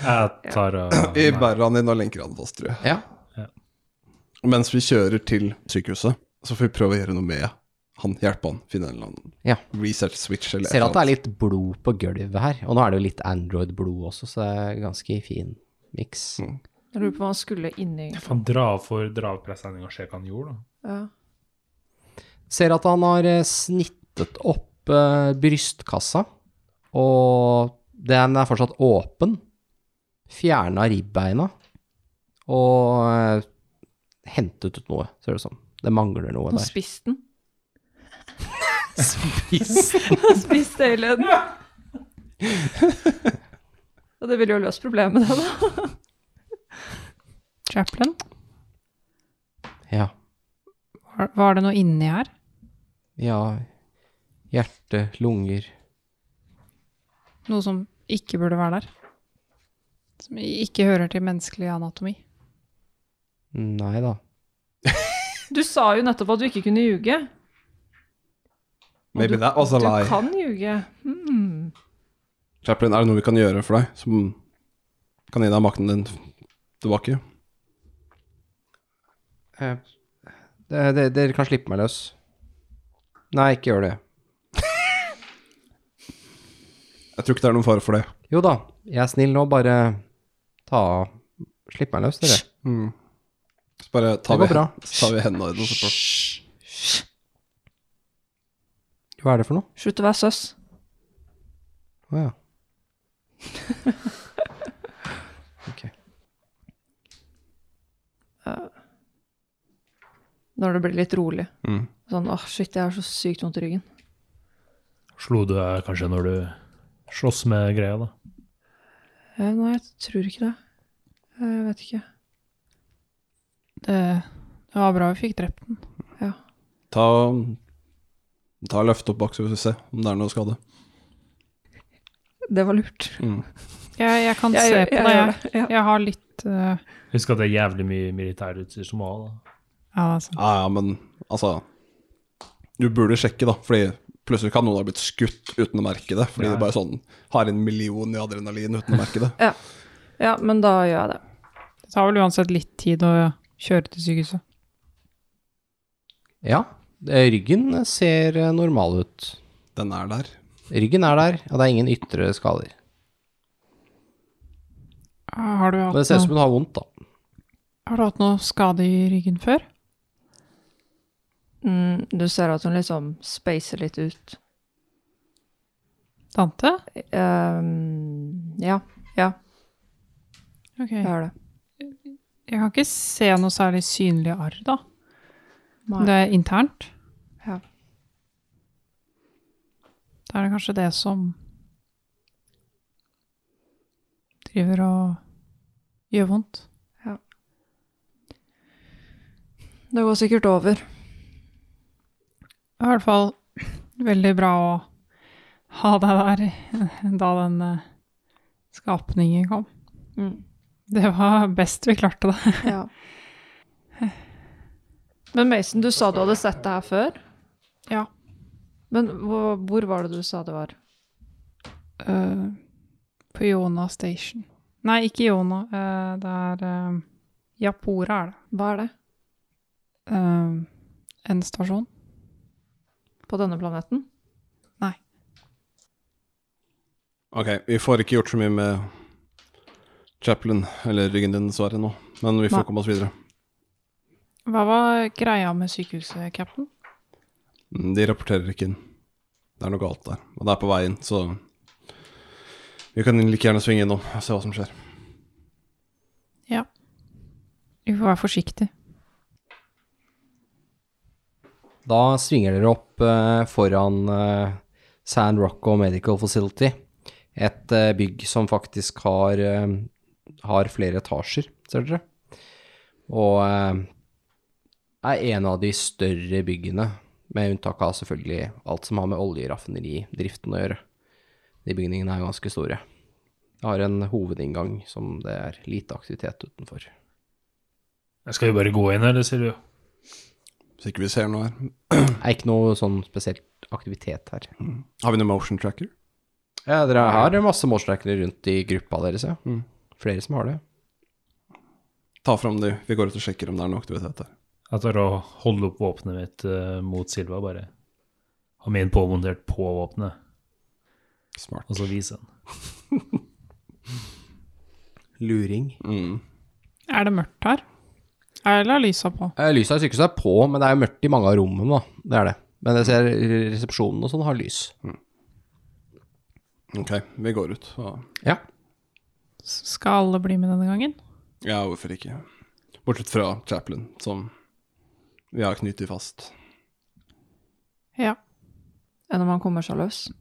S4: Jeg tar eh, og
S6: Vi bærer han inn og lenker han fast, tror jeg.
S1: Ja.
S6: Mens vi kjører til sykehuset, så får vi prøve å gjøre noe med han. Hjelpe han, finne en eller annen
S1: Ja.
S6: research switch eller
S1: Ser at det er
S6: annet.
S1: litt blod på gulvet her. Og nå er det jo litt Android-blod også, så det er ganske fin miks.
S5: Jeg lurer på hva han skulle inni
S4: Faen, dra av for dra av presenninga og se hva han gjorde, da.
S5: ja.
S1: Ser at han har eh, snittet opp eh, brystkassa, og den er fortsatt åpen. Fjerna ribbeina og eh, hentet ut noe, ser det ut som. Det mangler noe
S5: Og
S1: der.
S5: spist den.
S1: Spist.
S5: Spist Alien. Og det ville jo løst problemet, det, da.
S3: Chaplin?
S1: Ja.
S3: Var, var det noe inni her?
S1: Ja, hjerte, lunger
S3: Noe som ikke burde være der? Som ikke hører til menneskelig anatomi?
S1: Nei da.
S5: Du sa jo nettopp at du ikke kunne ljuge.
S6: Maybe that was a
S5: Du
S6: lie.
S5: kan ljuge. Hmm.
S6: Chaplin, er det noe vi kan gjøre for deg som kan gi deg makten din tilbake?
S1: Eh, det- det- Dere kan slippe meg løs. Nei, ikke gjør det.
S6: Jeg tror ikke det er noen fare for det.
S1: Jo da, jeg er snill nå, bare ta Slipp meg løs, dere.
S6: Mm. Så bare tar
S1: Det går
S6: vi,
S1: bra.
S6: så tar vi hendene i den, og så prøver-
S1: Hva er det for noe?
S5: Slutt å være søss.
S1: Å ja. Ok.
S5: Når det blir litt rolig.
S6: Mm.
S5: Sånn åh, shit, jeg har så sykt vondt i ryggen.
S4: Slo du deg kanskje når du sloss med greia, da?
S5: Eh, nei, jeg tror ikke det. Eh, Jeg vet ikke.
S3: Det, det var bra vi fikk drept den.
S6: Ta, ta løft opp bak, så vi får se om det er noe skade.
S5: Det var lurt.
S3: Jeg, jeg kan
S5: Jeg
S3: se
S5: gjør-
S3: på
S5: jeg
S3: det,
S5: gjør
S3: jeg.
S5: det, ja.
S3: Jeg har litt eh,
S4: Husk at det er jævlig mye militærutstyr som må ha, da.
S3: Ja, altså.
S6: Ja, ja, men altså Du burde sjekke, da, fordi Plutselig kan noen ha blitt skutt uten å merke det, fordi
S8: Ja.
S6: de bare sånn har en million i adrenalin uten å merke det.
S5: Ja, men da gjør jeg det.
S3: Det tar vel uansett litt tid å kjøre til sykehuset.
S1: Ja, det- ryggen ser eh, normal ut.
S6: Den er der.
S1: Ryggen er der, og det er ingen ytre skader.
S3: Har du
S1: Men
S3: hatt,
S1: det ser ut som
S3: noe,
S1: hun har vondt, da.
S3: har du hatt noe skade i ryggen før?
S5: Mm, du ser at hun liksom spacer litt ut.
S3: Tante?
S5: Ehm, ja,
S3: Ok.
S5: jeg gjør det.
S3: Jeg kan ikke se noe særlig synlig arr, da.
S5: Nei.
S3: Det er internt.
S5: Ja.
S3: Da er det kanskje det som driver og gjør vondt.
S5: Det går sikkert over.
S3: Det er i hvert fall veldig bra å ha deg der da den eh, skapningen kom.
S5: Mm.
S3: Det var best vi klarte det.
S5: Ja. Men Mason, du sa du hadde sett det her før?
S3: Ja.
S5: Men hvor, hvor var det du sa det var?
S3: Eh, på Jona Station. Nei, ikke Jona. eh, det er eh, Japora, er det.
S5: Hva er det?
S3: Eh, en stasjon.
S5: På denne planeten?
S6: Ok, vi får ikke gjort så mye med Chaplin, eller ryggen din, dessverre, nå. Men vi får
S3: Nei.
S6: komme oss videre.
S3: Hva var greia med sykehuset, cap'n?
S6: Mm, De rapporterer ikke inn. Det er noe galt der. Og det er på vei inn, så vi kan like gjerne svinge innom og se hva som skjer.
S3: Vi får være forsiktige.
S1: Da svinger dere opp eh, foran eh, San Rocco Medical Facility. Et eh, bygg som faktisk har, eh, har flere etasjer, ser dere. Og eh, er en av de større byggene, med unntak av selvfølgelig alt som har med oljeraffineridriften å gjøre. De bygningene er jo ganske store. Det har en hovedinngang som det er lite aktivitet utenfor.
S4: Skal vi bare gå inn, eller, sier du?
S6: Hvis ikke vi ser noe her.
S1: Det er ikke noe sånn spesielt aktivitet her.
S6: Har vi noen motion tracker?
S1: Ja, dere har masse målstrekere rundt i gruppa deres, ja.
S6: Mm.
S1: Flere som har det.
S6: Ta fram de. Vi går ut og sjekker om det er noe aktivitet her.
S4: Jeg tar og holder opp våpenet mitt eh, mot Silva, bare. Har min påmontert på våpenet,
S6: Smart.
S4: og så vis den.
S1: Luring.
S6: Mm.
S3: Er det mørkt her? Eller er lysa på?
S1: Eh, Lyset i sykehuset er på, men det er jo mørkt i mange av rommene, da. Det er det. Men jeg ser resepsjonen og sånn har lys.
S6: Ok, vi går ut. Og
S1: Ja.
S3: S- Skal alle bli med denne gangen?
S6: ja, hvorfor ikke? Bortsett fra Chaplin, som vi har knyttet fast.
S3: Ja.
S5: Enn om han kommer seg løs?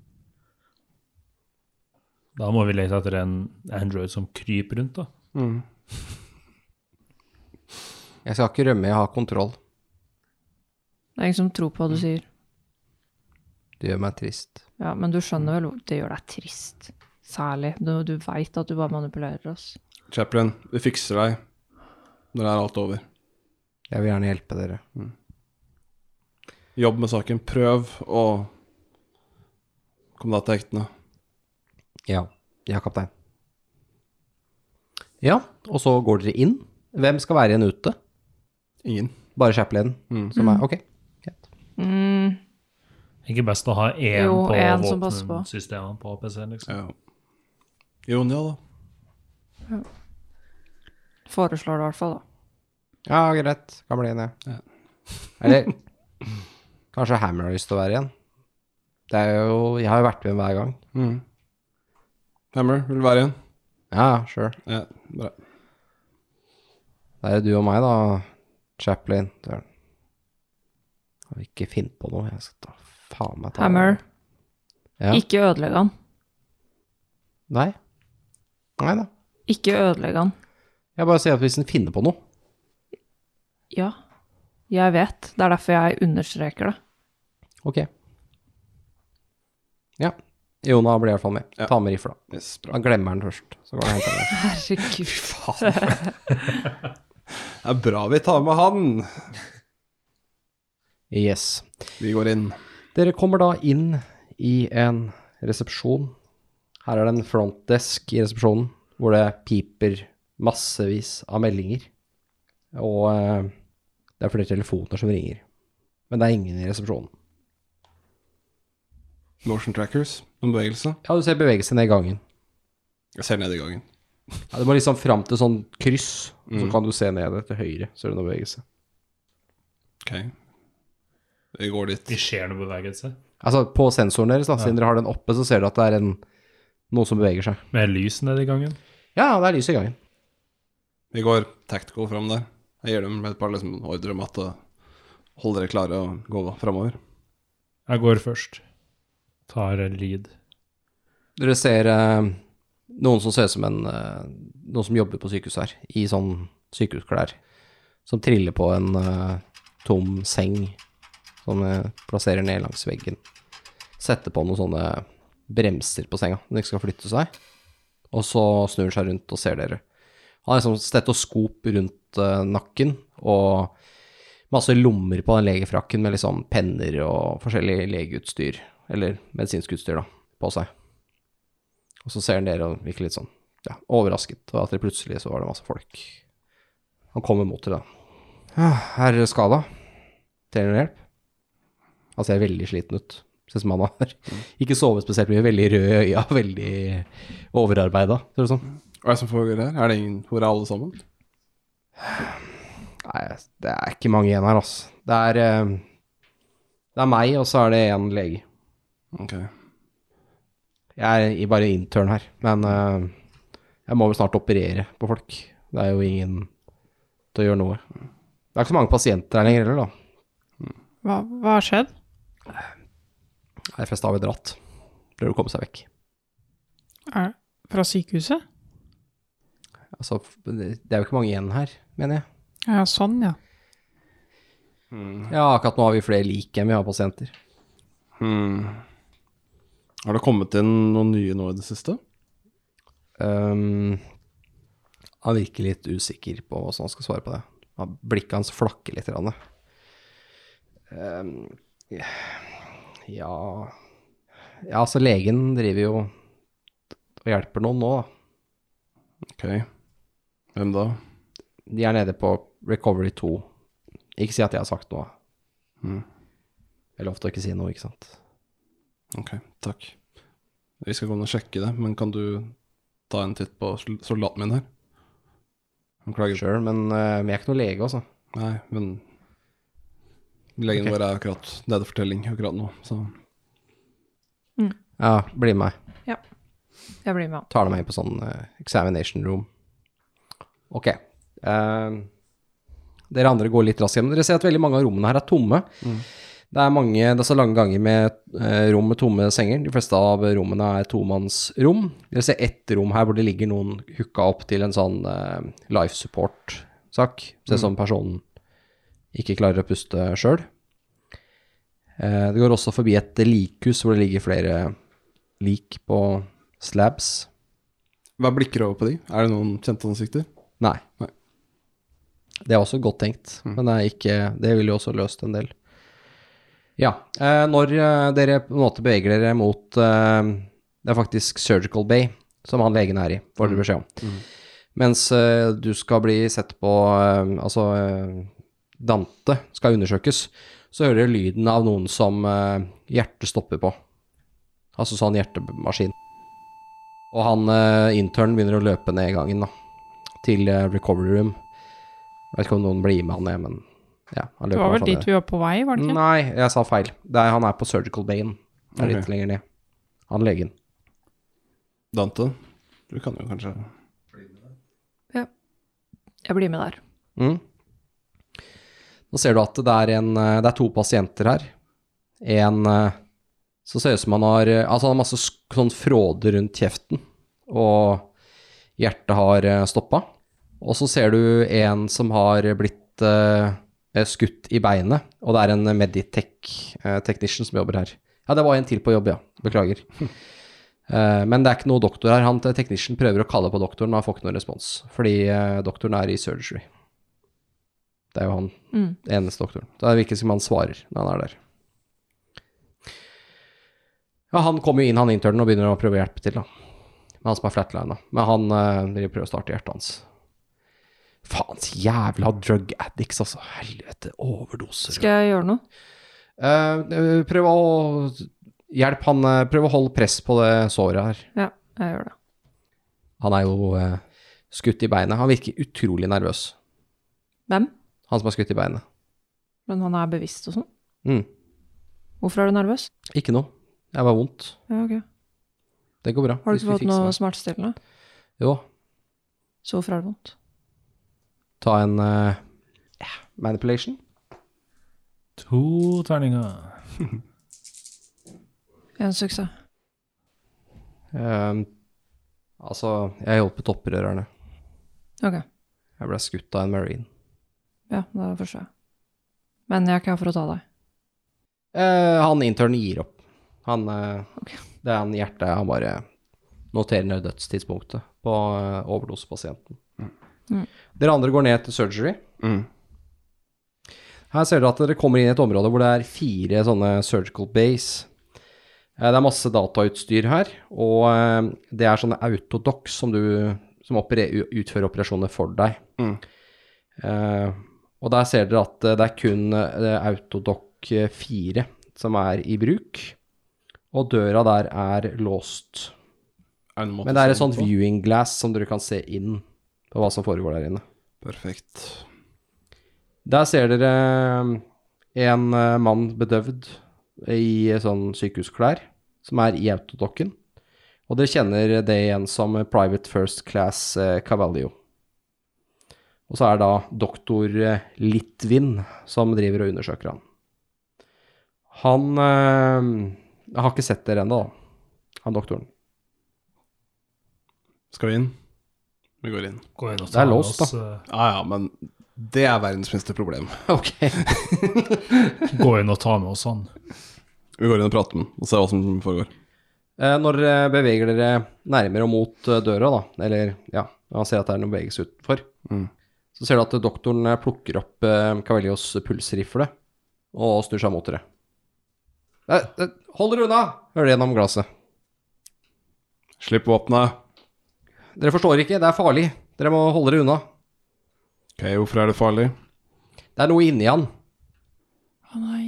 S4: Da må vi lete etter en Android som kryper rundt, da.
S6: Mm.
S1: Jeg skal ikke rømme, jeg har kontroll.
S5: Det er ingen som tror på hva du sier.
S1: Det gjør meg trist.
S5: Ja, men du skjønner vel hvor- det gjør deg trist. Særlig. Du, du veit at du bare manipulerer oss.
S6: Chaplin, vi fikser deg når det er alt over.
S1: Jeg vil gjerne hjelpe dere.
S6: Jobb med saken, prøv å komme deg til hektene.
S1: Ja. Ja, kaptein. Ja, og så går dere inn. Hvem skal være igjen ute?
S6: Ingen.
S1: Bare chaplainen,
S6: Mm.
S1: som er Ok.
S5: Mm,
S4: Ikke best å ha én
S5: Jo,
S4: på
S5: en som passer på.
S4: våpensystemet på PC-en, liksom.
S6: Ja. Jon, ja da.
S5: foreslår det i hvert fall, da.
S1: Ja, greit. Kan bli igjen, jeg.
S6: Ja.
S1: Eller kanskje Hammer har lyst til å være igjen. Det er jo Jeg har jo vært med hver gang.
S6: Mm. Hammer, vil du være igjen?
S1: Ja, sure.
S6: Ja, bra.
S1: Det er jo du og meg, da, Chaplin. Søren. Jeg vil ikke finne på noe. Jeg skal ta faen meg ta
S5: Hammer,
S1: Ja.
S5: ikke ødelegg han.
S1: Nei. Nei da.
S5: Ikke ødelegg han.
S1: Jeg bare sier at hvis den finner på noe
S5: Ja, jeg vet. Det er derfor jeg understreker det.
S1: Ok. Ja. Jona blir i hvert fall med.
S6: Ja.
S1: Ta med rifla.
S6: Yes, bra.
S1: Da glemmer han først. Så går han og henter den.
S5: Herregud.
S6: Det er bra vi tar med han.
S1: Yes.
S6: Vi går inn.
S1: Dere kommer da inn i en resepsjon. Her er det en frontdesk i resepsjonen, hvor det piper massevis av meldinger. Og eh, det er flere telefoner som ringer. Men det er ingen i resepsjonen.
S6: Motion trackers. Noen bevegelse.
S1: Ja, du ser bevegelse ned i gangen.
S6: Jeg ser ned i gangen.
S1: Ja, du må liksom fram til sånn kryss, og så kan du se ned til høyre, så er det noe bevegelse.
S6: Ok. Vi går dit.
S4: Det skjer noe bevegelse.
S1: Altså, på sensoren deres, da, siden dere har den oppe, så ser du at det er en, noe som beveger seg.
S4: Med lys nede i gangen.
S1: Ja, det er lys i gangen.
S6: Vi går tactical fram der. Jeg gir dem et par liksom, ordre om at uh, hold dere klare og gå framover.
S4: Jeg går først. Tar en lead.
S1: Dere ser eh, noen som ser ut som en eh, Noen som jobber på sykehus her, i sånn sykehusklær. Som triller på en eh, tom seng som eh, plasserer ned langs veggen. Setter på noen sånne bremser på senga, den ikke skal flytte seg. Og så snur han seg rundt og ser dere. Han har liksom stetoskop rundt eh, nakken og masse lommer på den legefrakken med liksom penner og forskjellig legeutstyr, eller medisinsk utstyr, da, på seg. Og så ser han dere og virker litt sånn ja, overrasket, og at det plutselig så var det masse folk. Han kommer mot dere, da. Ja, er dere skada? Trenger dere hjelp? Han ser veldig sliten ut. Ser ut som han har ikke sovet spesielt mye. Veldig rød i øya, veldig overarbeida, ser det ut som.
S6: Hva er det som foregår her? Er det ingen, hvor er alle sammen?
S1: Nei, det er ikke mange igjen her, altså. Det er eh, Det er meg, og så er det én lege.
S6: Ok.
S1: Jeg er i- bare intern her, men eh, jeg må vel snart operere på folk. Det er jo ingen til å gjøre noe. Det er ikke så mange pasienter her lenger heller, da.
S3: Hva, hva har skjedd?
S1: Nei, De fleste har vel dratt. Prøver å komme seg vekk.
S3: Er, fra sykehuset?
S1: Altså, f- det er jo ikke mange igjen her, mener jeg.
S3: Ja, sånn, ja.
S1: Ja, akkurat nå har vi flere lik enn vi har pasienter.
S6: Hmm. Har det kommet inn noen nye nå i det siste?
S1: Ehm, han virker litt usikker på hvordan han skal svare på det. Han- Blikket hans flakker litt. Grann. Ehm, ja Ja, altså, legen driver jo og hjelper noen nå, da.
S6: Ok. Hvem da?
S1: De er nede på Recovery 2. Ikke si at jeg har sagt noe.
S6: Mm.
S1: Jeg lovte å ikke si noe, ikke sant?
S6: Ok, takk. Vi skal gå ned og sjekke det, men kan du ta en titt på sol- soldaten min her? Han klager.
S1: Sjøl, men eh, vi er ikke noe lege, altså.
S6: Nei, men legen
S1: Ok.
S6: vår er akkurat nede for telling akkurat nå, så
S1: Ja, bli med meg.
S5: Jeg blir med.
S1: tar de meg inn på sånn eh, examination room. Ok. Eh, dere andre går litt raskt hjem. Dere ser at veldig mange av rommene her er tomme. Det er mange, det er så lange ganger med eh, rom med tomme senger. De fleste av rommene er tomannsrom. Dere ser ett rom her hvor det ligger noen hooka opp til en sånn eh, life support-sak. Se som personen ikke klarer å puste sjøl. Eh, det går også forbi et likhus hvor det ligger flere lik på slabs.
S6: Hva blikker over på de? Er det noen kjente ansikter?
S1: Nei.
S6: Nei.
S1: Det er også godt tenkt, men det, er ikke, det ville jo også løst en del. Ja, eh, når eh, dere på en måte beveger dere mot eh, Det er faktisk Surgical Bay som han legen er i, får dere beskjed om. Mens eh, du skal bli sett på eh, Altså, eh, Dante skal undersøkes. Så hører dere lyden av noen som eh, hjertet stopper på. Altså sånn hjertemaskin. Og han eh, internen begynner å løpe ned gangen, da til eh, recovery room. Jeg vet ikke om noen blir med han, jeg, men ja, han
S3: Det var vel
S1: sånn
S3: dit vi var på vei, var det ikke?
S1: Nei, jeg sa feil. Det er, han er på Surgical Bayen. Det er
S6: Ok.
S1: litt lenger ned. Han legen.
S6: Dante? Du kan jo kanskje
S5: Jeg blir med der.
S1: Mm. Nå ser du at det er, en, eh, det er to pasienter her. En eh, som ser ut som han har eh, Altså, han har masse sk- sånn fråde rundt kjeften, og hjertet har stoppa. Og så ser du en som har blitt eh, eh, skutt i beinet, og det er en Meditech-technician som jobber her. Ja, det var en til på jobb, ja. Beklager. Eh, Men det er ikke noe doktor her. Han Technician prøver å kalle på doktoren, men han får ikke noen respons. Fordi eh, doktoren er i surgery. Det er jo han.
S5: Mm.
S1: Den eneste doktoren. Så det virker som han svarer når han er der. Ja, han kommer jo inn, han internen, og begynner å prøve å hjelpe til, da. Med han som er flatlina. Men han eh, driver og prøver å starte hjertet hans. Faens jævla drug addicts, altså. Helvete. Overdoser.
S5: Skal jeg gjøre noe?
S1: Eh, prøv å hjelpe han eh, Prøv å holde press på det såret her.
S5: Ja, jeg gjør det.
S1: Han er jo eh, skutt i beinet. Han virker utrolig nervøs,
S5: Hvem?
S1: han som er skutt i beinet.
S5: Men han er bevisst og sånn.
S1: Mm.
S5: Hvorfor er du nervøs?
S1: Ikke noe. Det er bare vondt.
S5: Ja, ok.
S1: Det går bra.
S5: Har du
S1: Vi
S5: ikke
S1: skal
S5: fått
S1: fikse
S5: noe
S1: det.
S5: smertestillende?
S1: Jo,
S5: Så hvorfor er det vondt?
S1: ta en eh, manipulation.
S4: To terninger.
S5: En suksess.
S1: Eh, altså, jeg hjulpet opprørerne.
S5: Ok,
S1: Jeg ble skutt av en marine.
S5: ja, det forstår jeg. Men jeg er ikke her for å ta deg.
S1: Eh, han internen gir opp. Han eh,
S5: Ok.
S1: Det er han hjertet Han bare noterer ned dødstidspunktet på eh, overdosepasienten.
S5: Mm.
S1: Dere andre går ned til surgery.
S6: Mm.
S1: Her ser dere at dere kommer inn i et område hvor det er fire sånne surgical base. Eh, Det er masse datautstyr her, og eh, det er sånne autodocs som, du, som opere, utfører operasjoner for deg.
S6: Mm.
S1: Eh, og der ser dere at eh, det er kun eh, autodoc 4 som er i bruk, og døra der er låst.
S6: Er det noen måte
S1: Men det
S6: å
S1: er et
S6: se
S1: sånt
S6: på?
S1: viewing glass som dere kan se inn på hva som foregår der inne.
S6: Perfekt.
S1: Der ser dere um, en eh, mann bedøvd i sånn sykehusklær, som er i autodokken. Og dere kjenner det igjen som Private First Class eh, Cavallo. Og så er det da doktor eh, Litvin som driver og undersøker han. Han eh, har ikke sett dere ennå, da, han doktoren.
S6: Skal vi inn? Vi går inn.
S4: Gå inn og
S1: Det
S4: ta
S1: er låst,
S4: oss, eh,
S6: Ja ja, men det er verdens minste problem.
S1: Ok.
S4: Gå inn og ta med oss han.
S6: Vi går inn og prater med den, og ser hva som foregår.
S1: Eh, Når dere beveger dere nærmere mot eh, døra, da, eller ja, når han ser at det er noe bevegelse utenfor,
S6: Mm.
S1: så ser du at doktoren eh, plukker opp eh, Cavellios pulsrifle og snur seg mot dere. Eh, eh, Hold dere unna! hører de gjennom glasset.
S6: Slipp våpenet.
S1: Dere forstår ikke, det er farlig. Dere må holde dere unna.
S6: Ok, hvorfor er det farlig?
S1: Det er noe inni han.
S5: Å nei.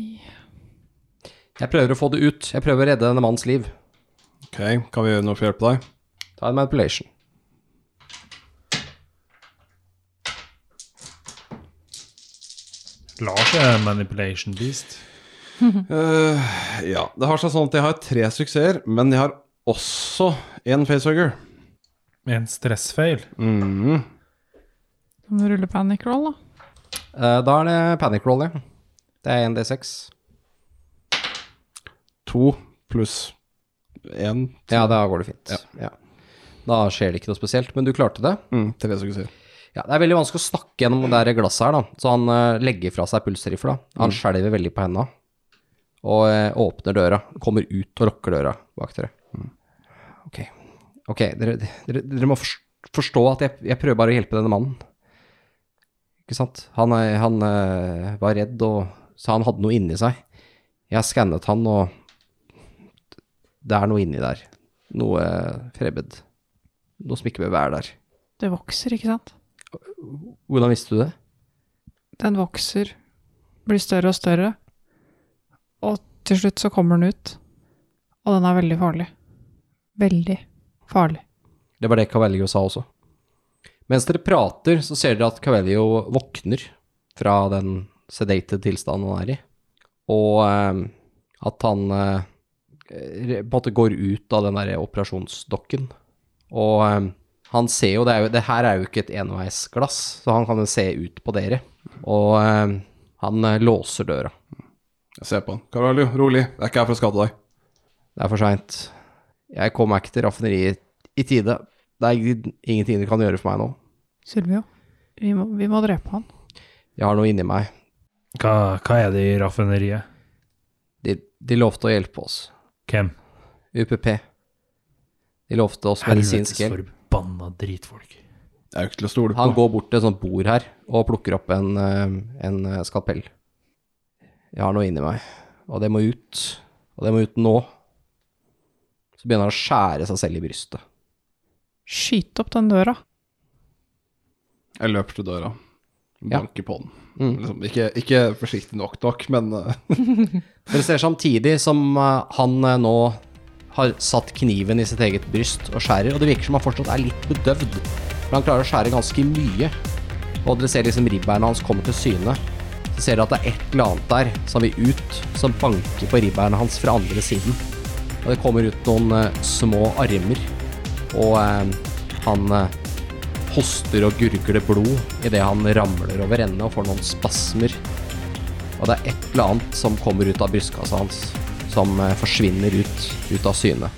S1: Jeg prøver å få det ut. Jeg prøver å redde denne mannens liv.
S6: Ok, kan vi gjøre noe for å hjelpe deg?
S1: Ta en manipulation.
S4: Lars er en manipulation beast.
S6: Eh, ja, det har seg sånn at jeg har tre suksesser, men jeg har også en facehugger.
S4: Med en stressfeil.
S6: Mm.
S3: Kan du rulle panic roll, da?
S1: Eh, Da er det panic roll, ja. Det er 1D6.
S6: To pluss én.
S1: Ja, da går det fint. Ja. Da skjer det ikke noe spesielt, men du klarte det.
S6: Mm, tre suksesser.
S1: Ja, det er veldig vanskelig å snakke gjennom det der glasset her, da. Så han eh, legger fra seg pulsrifla. Han skjelver veldig på henda. Og eh, åpner døra. Kommer ut og lukker døra bak dere. Mm. Ok, ok, dere, dere, dere må forst- forstå at jeg, jeg prøver bare å hjelpe denne mannen. Ikke sant? Han, er- han eh, var redd og sa han hadde noe inni seg. Jeg skannet han, og det er noe inni der. Noe eh, fremmed. Noe som ikke bør være der.
S3: Det vokser, ikke sant?
S1: Hvordan visste du det?
S3: Den vokser, blir større og større, og til slutt så kommer den ut. Og den er veldig farlig. Veldig farlig.
S1: Det var det Cavelio sa også. Mens dere prater, så ser dere at Cavelio våkner fra den sedated tilstanden han er i, og eh, at han eh, re- på en måte går ut av den der operasjonsdokken. Og eh, han ser jo det, er jo, det her er jo ikke et enveisglass, så han kan jo se ut på dere. Og eh, han eh, låser døra.
S6: Jeg ser på han. Carvalho, rolig. Jeg er ikke her for å skade deg.
S1: Det er for seint. Jeg kom meg ikke til raffineriet i tide. Det er ing- ingenting dere kan gjøre for meg nå.
S3: Sylvio, vi må, vi må drepe han.
S1: Jeg har noe inni meg.
S4: Hva, hva er det i raffineriet?
S1: De, de lovte å hjelpe oss.
S4: Hvem?
S1: UPP. De lovte oss medisinsk hjelp.
S4: forbanna dritfolk.
S6: Jeg er jo ikke til å stole på.
S1: Han går bort til et sånt bord her og plukker opp en, eh, en eh, skalpell. Jeg har noe inni meg, og det må ut. Og det må ut nå. Så begynner han å skjære seg selv i brystet.
S3: Skyt opp den døra.
S6: Jeg løper til døra, banker på den.
S1: Mm.
S6: Liksom, ikke, ikke forsiktig nok nok, men eh,
S1: Dere ser samtidig som eh, han eh, nå har satt kniven i sitt eget bryst og skjærer, og det virker som han fortsatt er litt bedøvd. For han klarer å skjære ganske mye, og dere ser liksom ribbeina hans komme til syne. Så ser dere at det er et eller annet der som vil ut, som banker på ribbeina hans fra andre siden. Og det kommer ut noen eh, små armer, og eh, han eh, hoster og gurgler blod idet han ramler over ende og får noen spasmer og det er et eller annet som kommer ut av brystkassa hans, som eh, forsvinner ut, ut av syne.